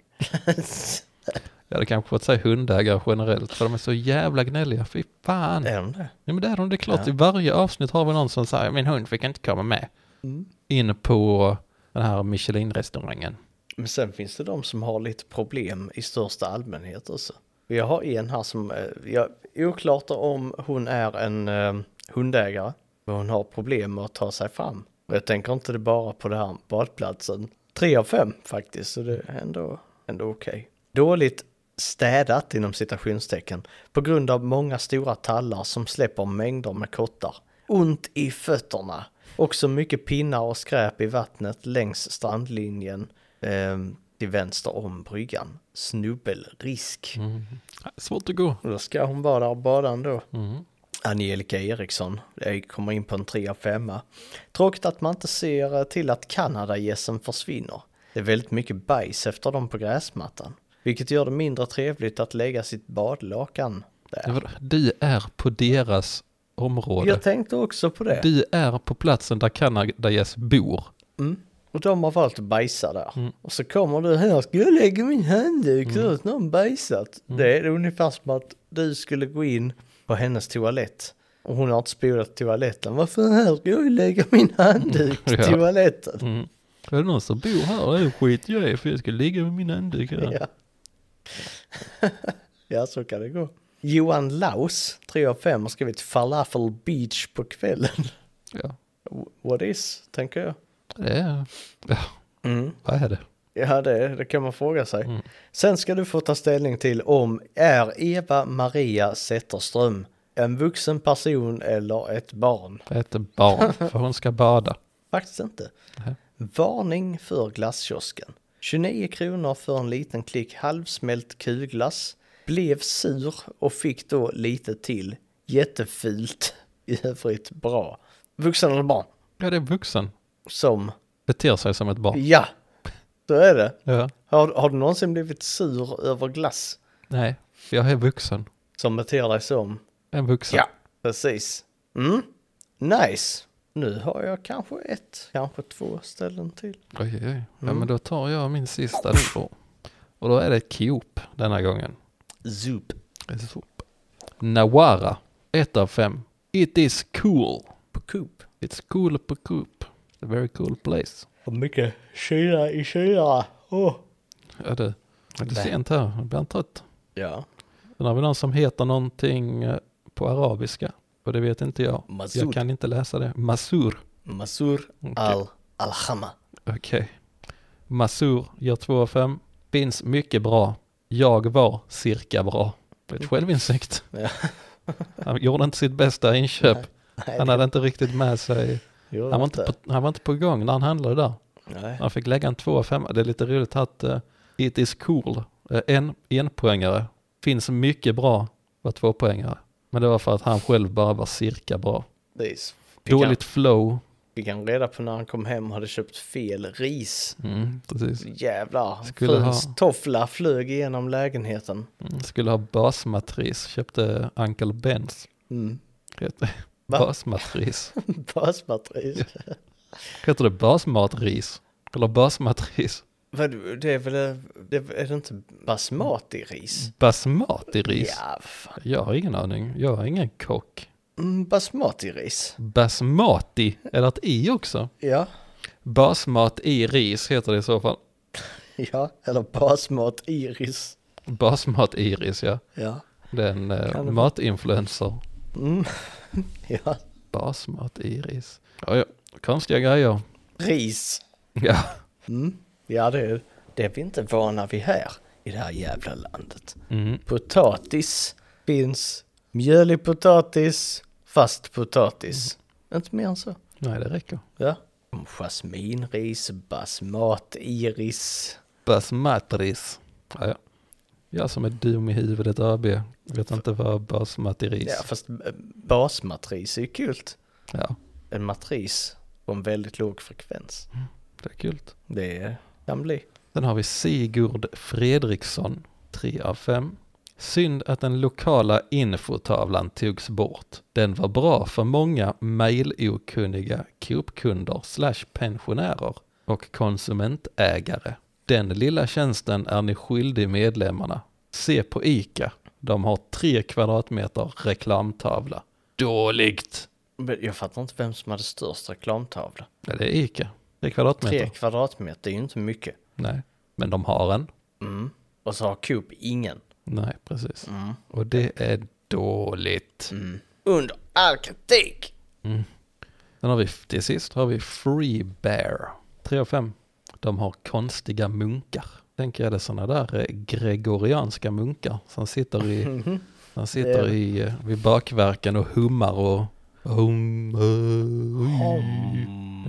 Speaker 1: Jag hade kanske fått säga hundägare generellt för de är så jävla gnälliga. Fy fan.
Speaker 2: är de det?
Speaker 1: Ja men det är de, det är klart.
Speaker 2: Ja.
Speaker 1: I varje avsnitt har vi någon som säger min hund fick inte komma med.
Speaker 2: Mm.
Speaker 1: In på den här Michelin-restaurangen.
Speaker 2: Men sen finns det de som har lite problem i största allmänhet också. Jag har en här som, eh, jag är oklart om hon är en eh, hundägare, men hon har problem med att ta sig fram. Och jag tänker inte det bara på den här badplatsen. Tre av fem faktiskt, så det är ändå, ändå okej. Dåligt städat inom citationstecken på grund av många stora tallar som släpper mängder med kottar. Ont i fötterna. Också mycket pinnar och skräp i vattnet längs strandlinjen eh, till vänster om bryggan. Snubbelrisk.
Speaker 1: Svårt att gå.
Speaker 2: Och då ska hon vara där och bada ändå.
Speaker 1: Mm.
Speaker 2: Angelica Eriksson, jag kommer in på en 3 av 5. Tråkigt att man inte ser till att Kanadagässen försvinner. Det är väldigt mycket bajs efter dem på gräsmattan. Vilket gör det mindre trevligt att lägga sitt badlakan
Speaker 1: Ja,
Speaker 2: där.
Speaker 1: vadå? Du är på deras område.
Speaker 2: Jag tänkte också på det.
Speaker 1: Du är på platsen där Kanadagäss bor.
Speaker 2: Mm. Och de har valt att bajsa där.
Speaker 1: Mm.
Speaker 2: Och så kommer du här, ska jag lägga min handduk så att någon bajsat? Det är ungefär som att du skulle gå in på hennes toalett. Och hon har inte spolat toaletten. Varför här ska jag lägga min handduk i
Speaker 1: Ja.
Speaker 2: toaletten?
Speaker 1: Mm. Är det någon som bor här? Det är skit jag är för jag ska ligga med min handduk här.
Speaker 2: Ja. ja, <laughs> så kan det gå. Johan Laus, 3 av 5, har skrivit falafel beach på kvällen. <laughs>
Speaker 1: Ja.
Speaker 2: What is, tänker jag.
Speaker 1: Det är, ja,
Speaker 2: Mm.
Speaker 1: vad är det?
Speaker 2: Ja, det, det kan man fråga sig.
Speaker 1: Mm.
Speaker 2: Sen ska du få ta ställning till om är Eva Maria Zetterström en vuxen person eller ett barn?
Speaker 1: Det heter barn, för hon ska bada.
Speaker 2: Faktiskt inte.
Speaker 1: Nej.
Speaker 2: Varning för glasskiosken. 29 kronor för en liten klick halvsmält kulglass. Blev sur och fick då lite till. Jättefult. I övrigt bra. Vuxen eller barn?
Speaker 1: Ja, det är vuxen.
Speaker 2: Som.
Speaker 1: Beter sig som ett barn.
Speaker 2: Ja, så är det.
Speaker 1: Ja.
Speaker 2: Har, har du någonsin blivit sur över glass?
Speaker 1: Nej, jag är vuxen.
Speaker 2: Som beter dig som?
Speaker 1: En vuxen.
Speaker 2: Ja, precis. Mm. Nice. Nu har jag kanske ett, kanske två ställen till.
Speaker 1: Oj, oj, oj. Ja,
Speaker 2: Mm.
Speaker 1: men då tar jag min sista då. Och då är det Coop denna gången.
Speaker 2: Zoop.
Speaker 1: Coop. Nawara, ett av fem. It is cool.
Speaker 2: På Coop.
Speaker 1: It's cool på Coop. A very cool place.
Speaker 2: Och mycket kyla i kyla.
Speaker 1: Oh.
Speaker 2: Åh.
Speaker 1: Ja, det, det är
Speaker 2: Nej.
Speaker 1: sent här, jag blir trött.
Speaker 2: Ja.
Speaker 1: Sen har vi någon som heter någonting eh, på arabiska. Och det vet inte jag.
Speaker 2: Masud.
Speaker 1: Jag kan inte läsa det. Masur.
Speaker 2: Masur
Speaker 1: Okej.
Speaker 2: al Alhama.
Speaker 1: Okej. Masur gör 2 av 5. Finns mycket bra. Jag var cirka bra. Det är ett <laughs> självinsikt.
Speaker 2: Ja.
Speaker 1: Han gjorde inte sitt bästa inköp.
Speaker 2: Nej,
Speaker 1: Han
Speaker 2: det
Speaker 1: hade inte riktigt med sig.
Speaker 2: gör
Speaker 1: Han var inte på, han var inte på gång när han handlade där.
Speaker 2: Nej.
Speaker 1: Han fick lägga en 2 av 5. Det är lite roligt att eh, it is cool. eh, en, en poängare. Finns mycket bra. Var två poängare. Men det var för att han själv bara var cirka bra.
Speaker 2: Precis. Fick
Speaker 1: Dåligt flow.
Speaker 2: Han, fick han reda på när han kom hem och hade köpt fel ris.
Speaker 1: Mm, precis.
Speaker 2: Jävlar.
Speaker 1: Skulle
Speaker 2: Fruns
Speaker 1: ha-
Speaker 2: toffla flög igenom lägenheten.
Speaker 1: Mm, Skulle ha basmatris. Köpte Uncle Bens.
Speaker 2: Mm. <laughs>
Speaker 1: Heter
Speaker 2: Va?
Speaker 1: basmatris.
Speaker 2: Basmatris.
Speaker 1: Heter det basmatris? Eller basmatris?
Speaker 2: Vad, det är väl, det, är det inte basmati ris?
Speaker 1: Basmati ris?
Speaker 2: Ja, fan.
Speaker 1: Jag har ingen aning. Jag är ingen kock.
Speaker 2: Mm, basmati ris.
Speaker 1: Basmati? Är det ett i också?
Speaker 2: Ja,
Speaker 1: Basmat i ris heter det i så fall.
Speaker 2: ja, eller basmat iris.
Speaker 1: Basmat i ris, ja.
Speaker 2: Ja.
Speaker 1: Det är en eh,
Speaker 2: Kan det-
Speaker 1: matinfluencer.
Speaker 2: Mm. <laughs> ja,
Speaker 1: Basmat i ris. Ja, ja. Konstiga grejer.
Speaker 2: ris.
Speaker 1: <laughs> Ja.
Speaker 2: Mm. Ja, det är, det är vi inte vana vid här i det här jävla landet.
Speaker 1: Mm.
Speaker 2: Potatis finns mjölig potatis, fast potatis. Inte mer än så.
Speaker 1: Nej, det räcker.
Speaker 2: Ja. Jasminris, basmat iris.
Speaker 1: Basmatris. Ja, ja. Jag som är dum i huvudet AB. Vet inte vad basmatris...
Speaker 2: Ja, fast eh, basmatris är ju kul.
Speaker 1: Ja,
Speaker 2: En matris och en väldigt låg frekvens.
Speaker 1: det är kul.
Speaker 2: Det kan bli.
Speaker 1: Sen har vi Sigurd Fredriksson, 3 av 5. Synd att den lokala infotavlan togs bort. Den var bra för många mejlokunniga Coop-kunder slash pensionärer och konsumentägare. Den lilla tjänsten är ni skyldig medlemmarna. Se på ICA. De har tre kvadratmeter reklamtavla. Dåligt!
Speaker 2: Men jag fattar inte vem som hade störst reklamtavla.
Speaker 1: Ja, det är ICA. Tre kvadratmeter.
Speaker 2: Tre kvadratmeter, det är ju inte mycket.
Speaker 1: Nej, men de har en.
Speaker 2: Mm. Och så har Coop ingen.
Speaker 1: Nej, precis. Och det är dåligt.
Speaker 2: Mm.
Speaker 1: Mm.
Speaker 2: Under all kritik!
Speaker 1: Sen har vi, till sist har vi Free Bear. 3 av 5. De har konstiga munkar. Tänker jag det är sådana där eh, gregorianska munkar som sitter <laughs> i, som sitter i, eh, vid bakverken och hummar och hum, eh,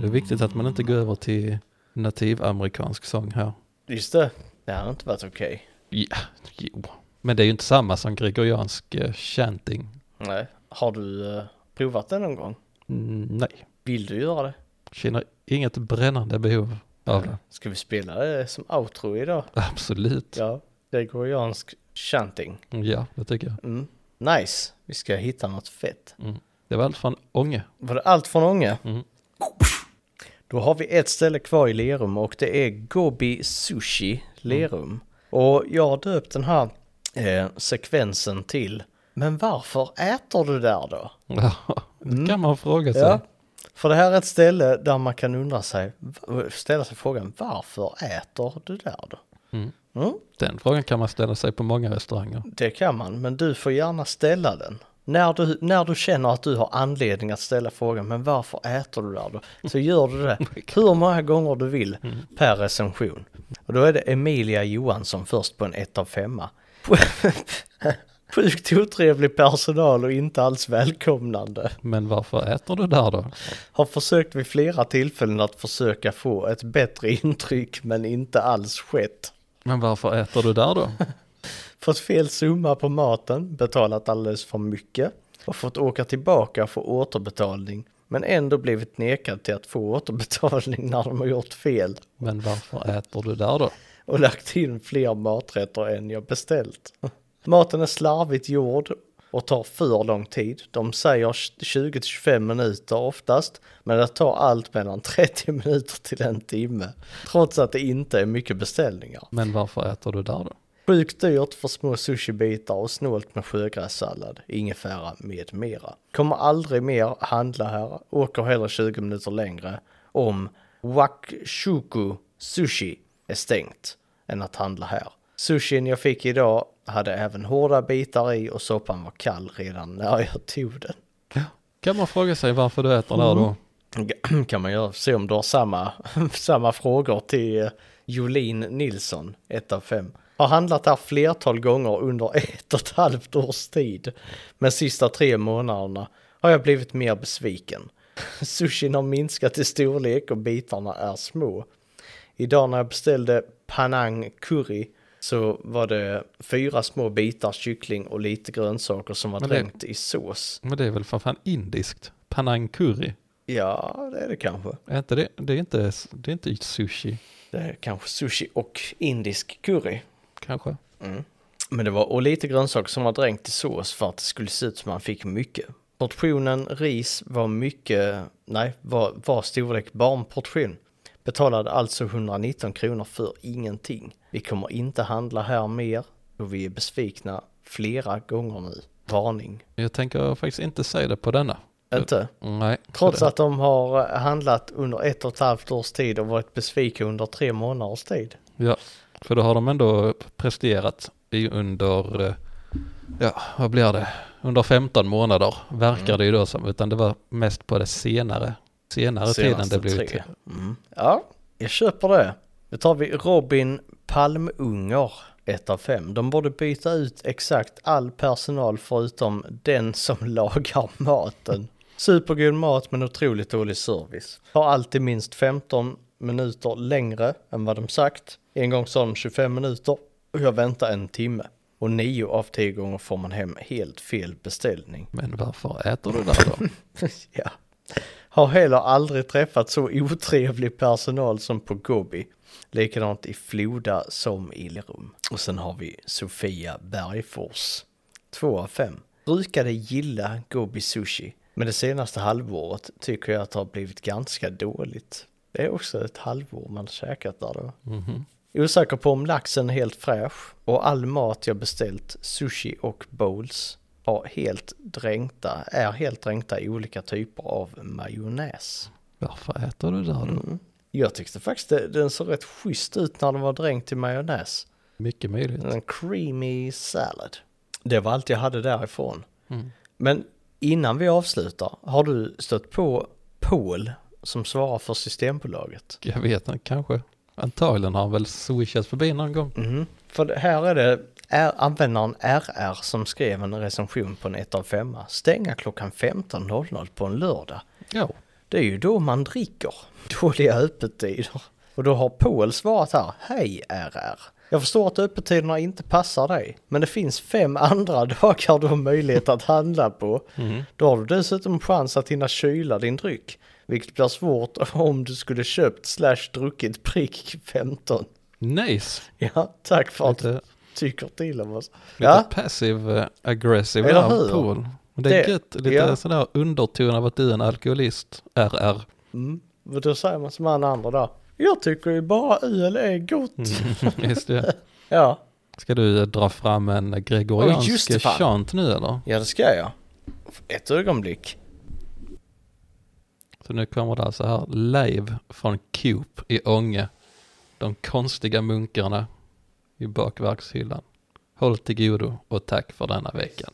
Speaker 1: Det är viktigt att man inte går över till nativamerikansk sång här.
Speaker 2: Just det, det hade inte varit okej.
Speaker 1: Ja, jo. Men det är ju inte samma som gregoriansk eh, chanting.
Speaker 2: Nej. Har du eh, provat det någon gång?
Speaker 1: Mm, nej.
Speaker 2: Vill du göra det?
Speaker 1: Känner inget brännande behov av det.
Speaker 2: Ska vi spela det som outro idag?
Speaker 1: Absolut.
Speaker 2: Ja, gregoriansk chanting.
Speaker 1: Ja, det tycker jag. Mm.
Speaker 2: Mm. Nice, vi ska hitta något fett.
Speaker 1: Det var allt från Ånge.
Speaker 2: Var det allt från Ånge?
Speaker 1: Mm.
Speaker 2: Då har vi ett ställe kvar i Lerum och det är Gobi Sushi Lerum. Och jag har döpt den här eh, sekvensen till Men varför äter du där då?
Speaker 1: Ja, det kan man fråga sig.
Speaker 2: Mm. Ja. För det här är ett ställe där man kan undra sig, ställa sig frågan varför äter du där då?
Speaker 1: Mm.
Speaker 2: Mm,
Speaker 1: Den frågan kan man ställa sig på många restauranger.
Speaker 2: det kan man, men du får gärna ställa den. När du, när du känner att du har anledning att ställa frågan, men varför äter du där då? Så gör du det hur många gånger du vill per recension. Och då är det Emilia Johansson först på en 1 av 5. Sjukt otrevlig personal och inte alls välkomnande.
Speaker 1: Men varför äter du där då?
Speaker 2: Har försökt vid flera tillfällen att försöka få ett bättre <laughs> intryck men inte alls skett.
Speaker 1: Men varför äter du där då?
Speaker 2: Fått fel summa på maten, betalat alldeles för mycket och fått åka tillbaka för återbetalning men ändå blivit nekad till att få återbetalning när de har gjort fel
Speaker 1: Men varför äter du där då?
Speaker 2: och lagt in fler maträtter än jag beställt. Maten är slarvigt gjord och tar för lång tid. De säger 20-25 minuter oftast, men det tar allt mellan 30 minuter till en timme. Trots att det inte är mycket beställningar.
Speaker 1: Men varför äter du där då?
Speaker 2: Sjukt dyrt för små sushibitar och snålt med sjögrässallad, ingefära med mera. Kommer aldrig mer handla här, åker hellre 20 minuter längre om Wakushuku Sushi är stängt än att handla här. Sushin jag fick idag hade även hårda bitar i och soppan var kall redan när jag tog den.
Speaker 1: Kan man fråga sig varför du äter där
Speaker 2: Mm.
Speaker 1: då?
Speaker 2: <clears throat> Kan man göra, se om du har samma, <laughs> samma frågor till eh, Jolin Nilsson, 1 av 5. Har handlat här flertal gånger under <laughs> ett och ett halvt års tid. Men sista tre månaderna har jag blivit mer besviken. <laughs> Sushin har minskat i storlek och bitarna är små. Idag när jag beställde Panang curry så var det fyra små bitar kyckling och lite grönsaker som var
Speaker 1: Men det-
Speaker 2: dränkt i sås.
Speaker 1: Men det är väl för fan indiskt? Panang curry?
Speaker 2: Ja, det är det kanske.
Speaker 1: Är inte det, det, är inte, det är inte sushi,
Speaker 2: Det är Eh, kanske sushi och indisk curry.
Speaker 1: kanske?
Speaker 2: Men det var och lite grönsaker som var dränkt i sås för att det skulle se ut som man fick mycket. Portionen ris var mycket, nej, var, var storlek barnportion. Betalade alltså 119 kronor för ingenting. Vi kommer inte handla här mer och vi är besvikna flera gånger nu. Varning.
Speaker 1: Jag tänker faktiskt inte säga det på denna.
Speaker 2: Inte?
Speaker 1: Nej.
Speaker 2: Trots att de har handlat under ett och ett halvt års tid och varit besvikna under tre månaders tid.
Speaker 1: Ja, för då har de ändå presterat i under, eh, ja vad blir det, under 15 månader verkar
Speaker 2: Mm.
Speaker 1: det ju då som, utan det var mest på det senare, senare tiden det blev till.
Speaker 2: Mm. Ja, jag köper det. Då tar vi Robin Palmunger, 1 av 5. De borde byta ut exakt all personal förutom den som <laughs> lagar maten. Supergod mat men otroligt dålig service. Har alltid minst 15 minuter längre än vad de sagt. En gång sa de 25 minuter och jag väntade en timme. Och nio av tio gånger får man hem helt fel beställning.
Speaker 1: Men varför äter du där då?
Speaker 2: <laughs> ja. Har heller aldrig träffat så otrevlig personal som på Gobi. Likadant i Floda som Illerum. Och sen har vi Sofia Bergfors. Två av fem. Brukade gilla Gobi Sushi. Men det senaste halvåret tycker jag att det har blivit ganska dåligt. Det är också ett halvår man käkat där då.
Speaker 1: Mhm.
Speaker 2: Osäker på om laxen är helt fräsch och all mat jag beställt, sushi och bowls, har helt dränkta, är helt dränkta i olika typer av majonnäs.
Speaker 1: Varför äter du där
Speaker 2: Mm.
Speaker 1: då?
Speaker 2: Jag tyckte faktiskt det, den såg rätt schysst ut när den var dränkt i majonnäs.
Speaker 1: Mycket möjligt.
Speaker 2: En creamy salad. Det var allt jag hade därifrån.
Speaker 1: Mm.
Speaker 2: Men innan vi avslutar, har du stött på Paul som svarar för Systembolaget?
Speaker 1: Jag vet inte, kanske. Antagligen har han väl swishat förbi någon gång.
Speaker 2: Mhm. För det- här är det är användaren RR som skrev en recension på en 1 av 5 Stänga klockan 15.00 på en lördag.
Speaker 1: Ja,
Speaker 2: Det är ju då man dricker. <laughs> Dåliga öppettider. Och då har Paul svarat här. Hej RR. Jag förstår att öppettiderna inte passar dig. Men det finns fem <laughs> andra dagar du har möjlighet att handla på. Då har du dessutom chans att hinna kyla din dryck. Vilket blir svårt <laughs> om du skulle köpt slash druckit prick 15.
Speaker 1: nice.
Speaker 2: Ja, tack för att
Speaker 1: Lite,
Speaker 2: tycker till om oss.
Speaker 1: lite
Speaker 2: Ja,
Speaker 1: passive eh, aggressive
Speaker 2: Eller
Speaker 1: där,
Speaker 2: hur?
Speaker 1: Paul. Det är
Speaker 2: Det-
Speaker 1: gött, lite
Speaker 2: ja.
Speaker 1: sådär underton av att du är en alkoholist, RR.
Speaker 2: mm. och då säger man som han andra där. Jag tycker ju bara öl är
Speaker 1: <laughs>
Speaker 2: gott.
Speaker 1: Just det.
Speaker 2: Ja.
Speaker 1: Ska du eh, dra fram en
Speaker 2: Oj, just
Speaker 1: gregoriansk eh,
Speaker 2: det, fan.
Speaker 1: chant nu eller?
Speaker 2: ja, det ska jag. Ett ögonblick.
Speaker 1: Så nu kommer det alltså här live från Coop i Ånge. De konstiga munkarna i bakverkshyllan. Håll till godo och tack för denna veckan.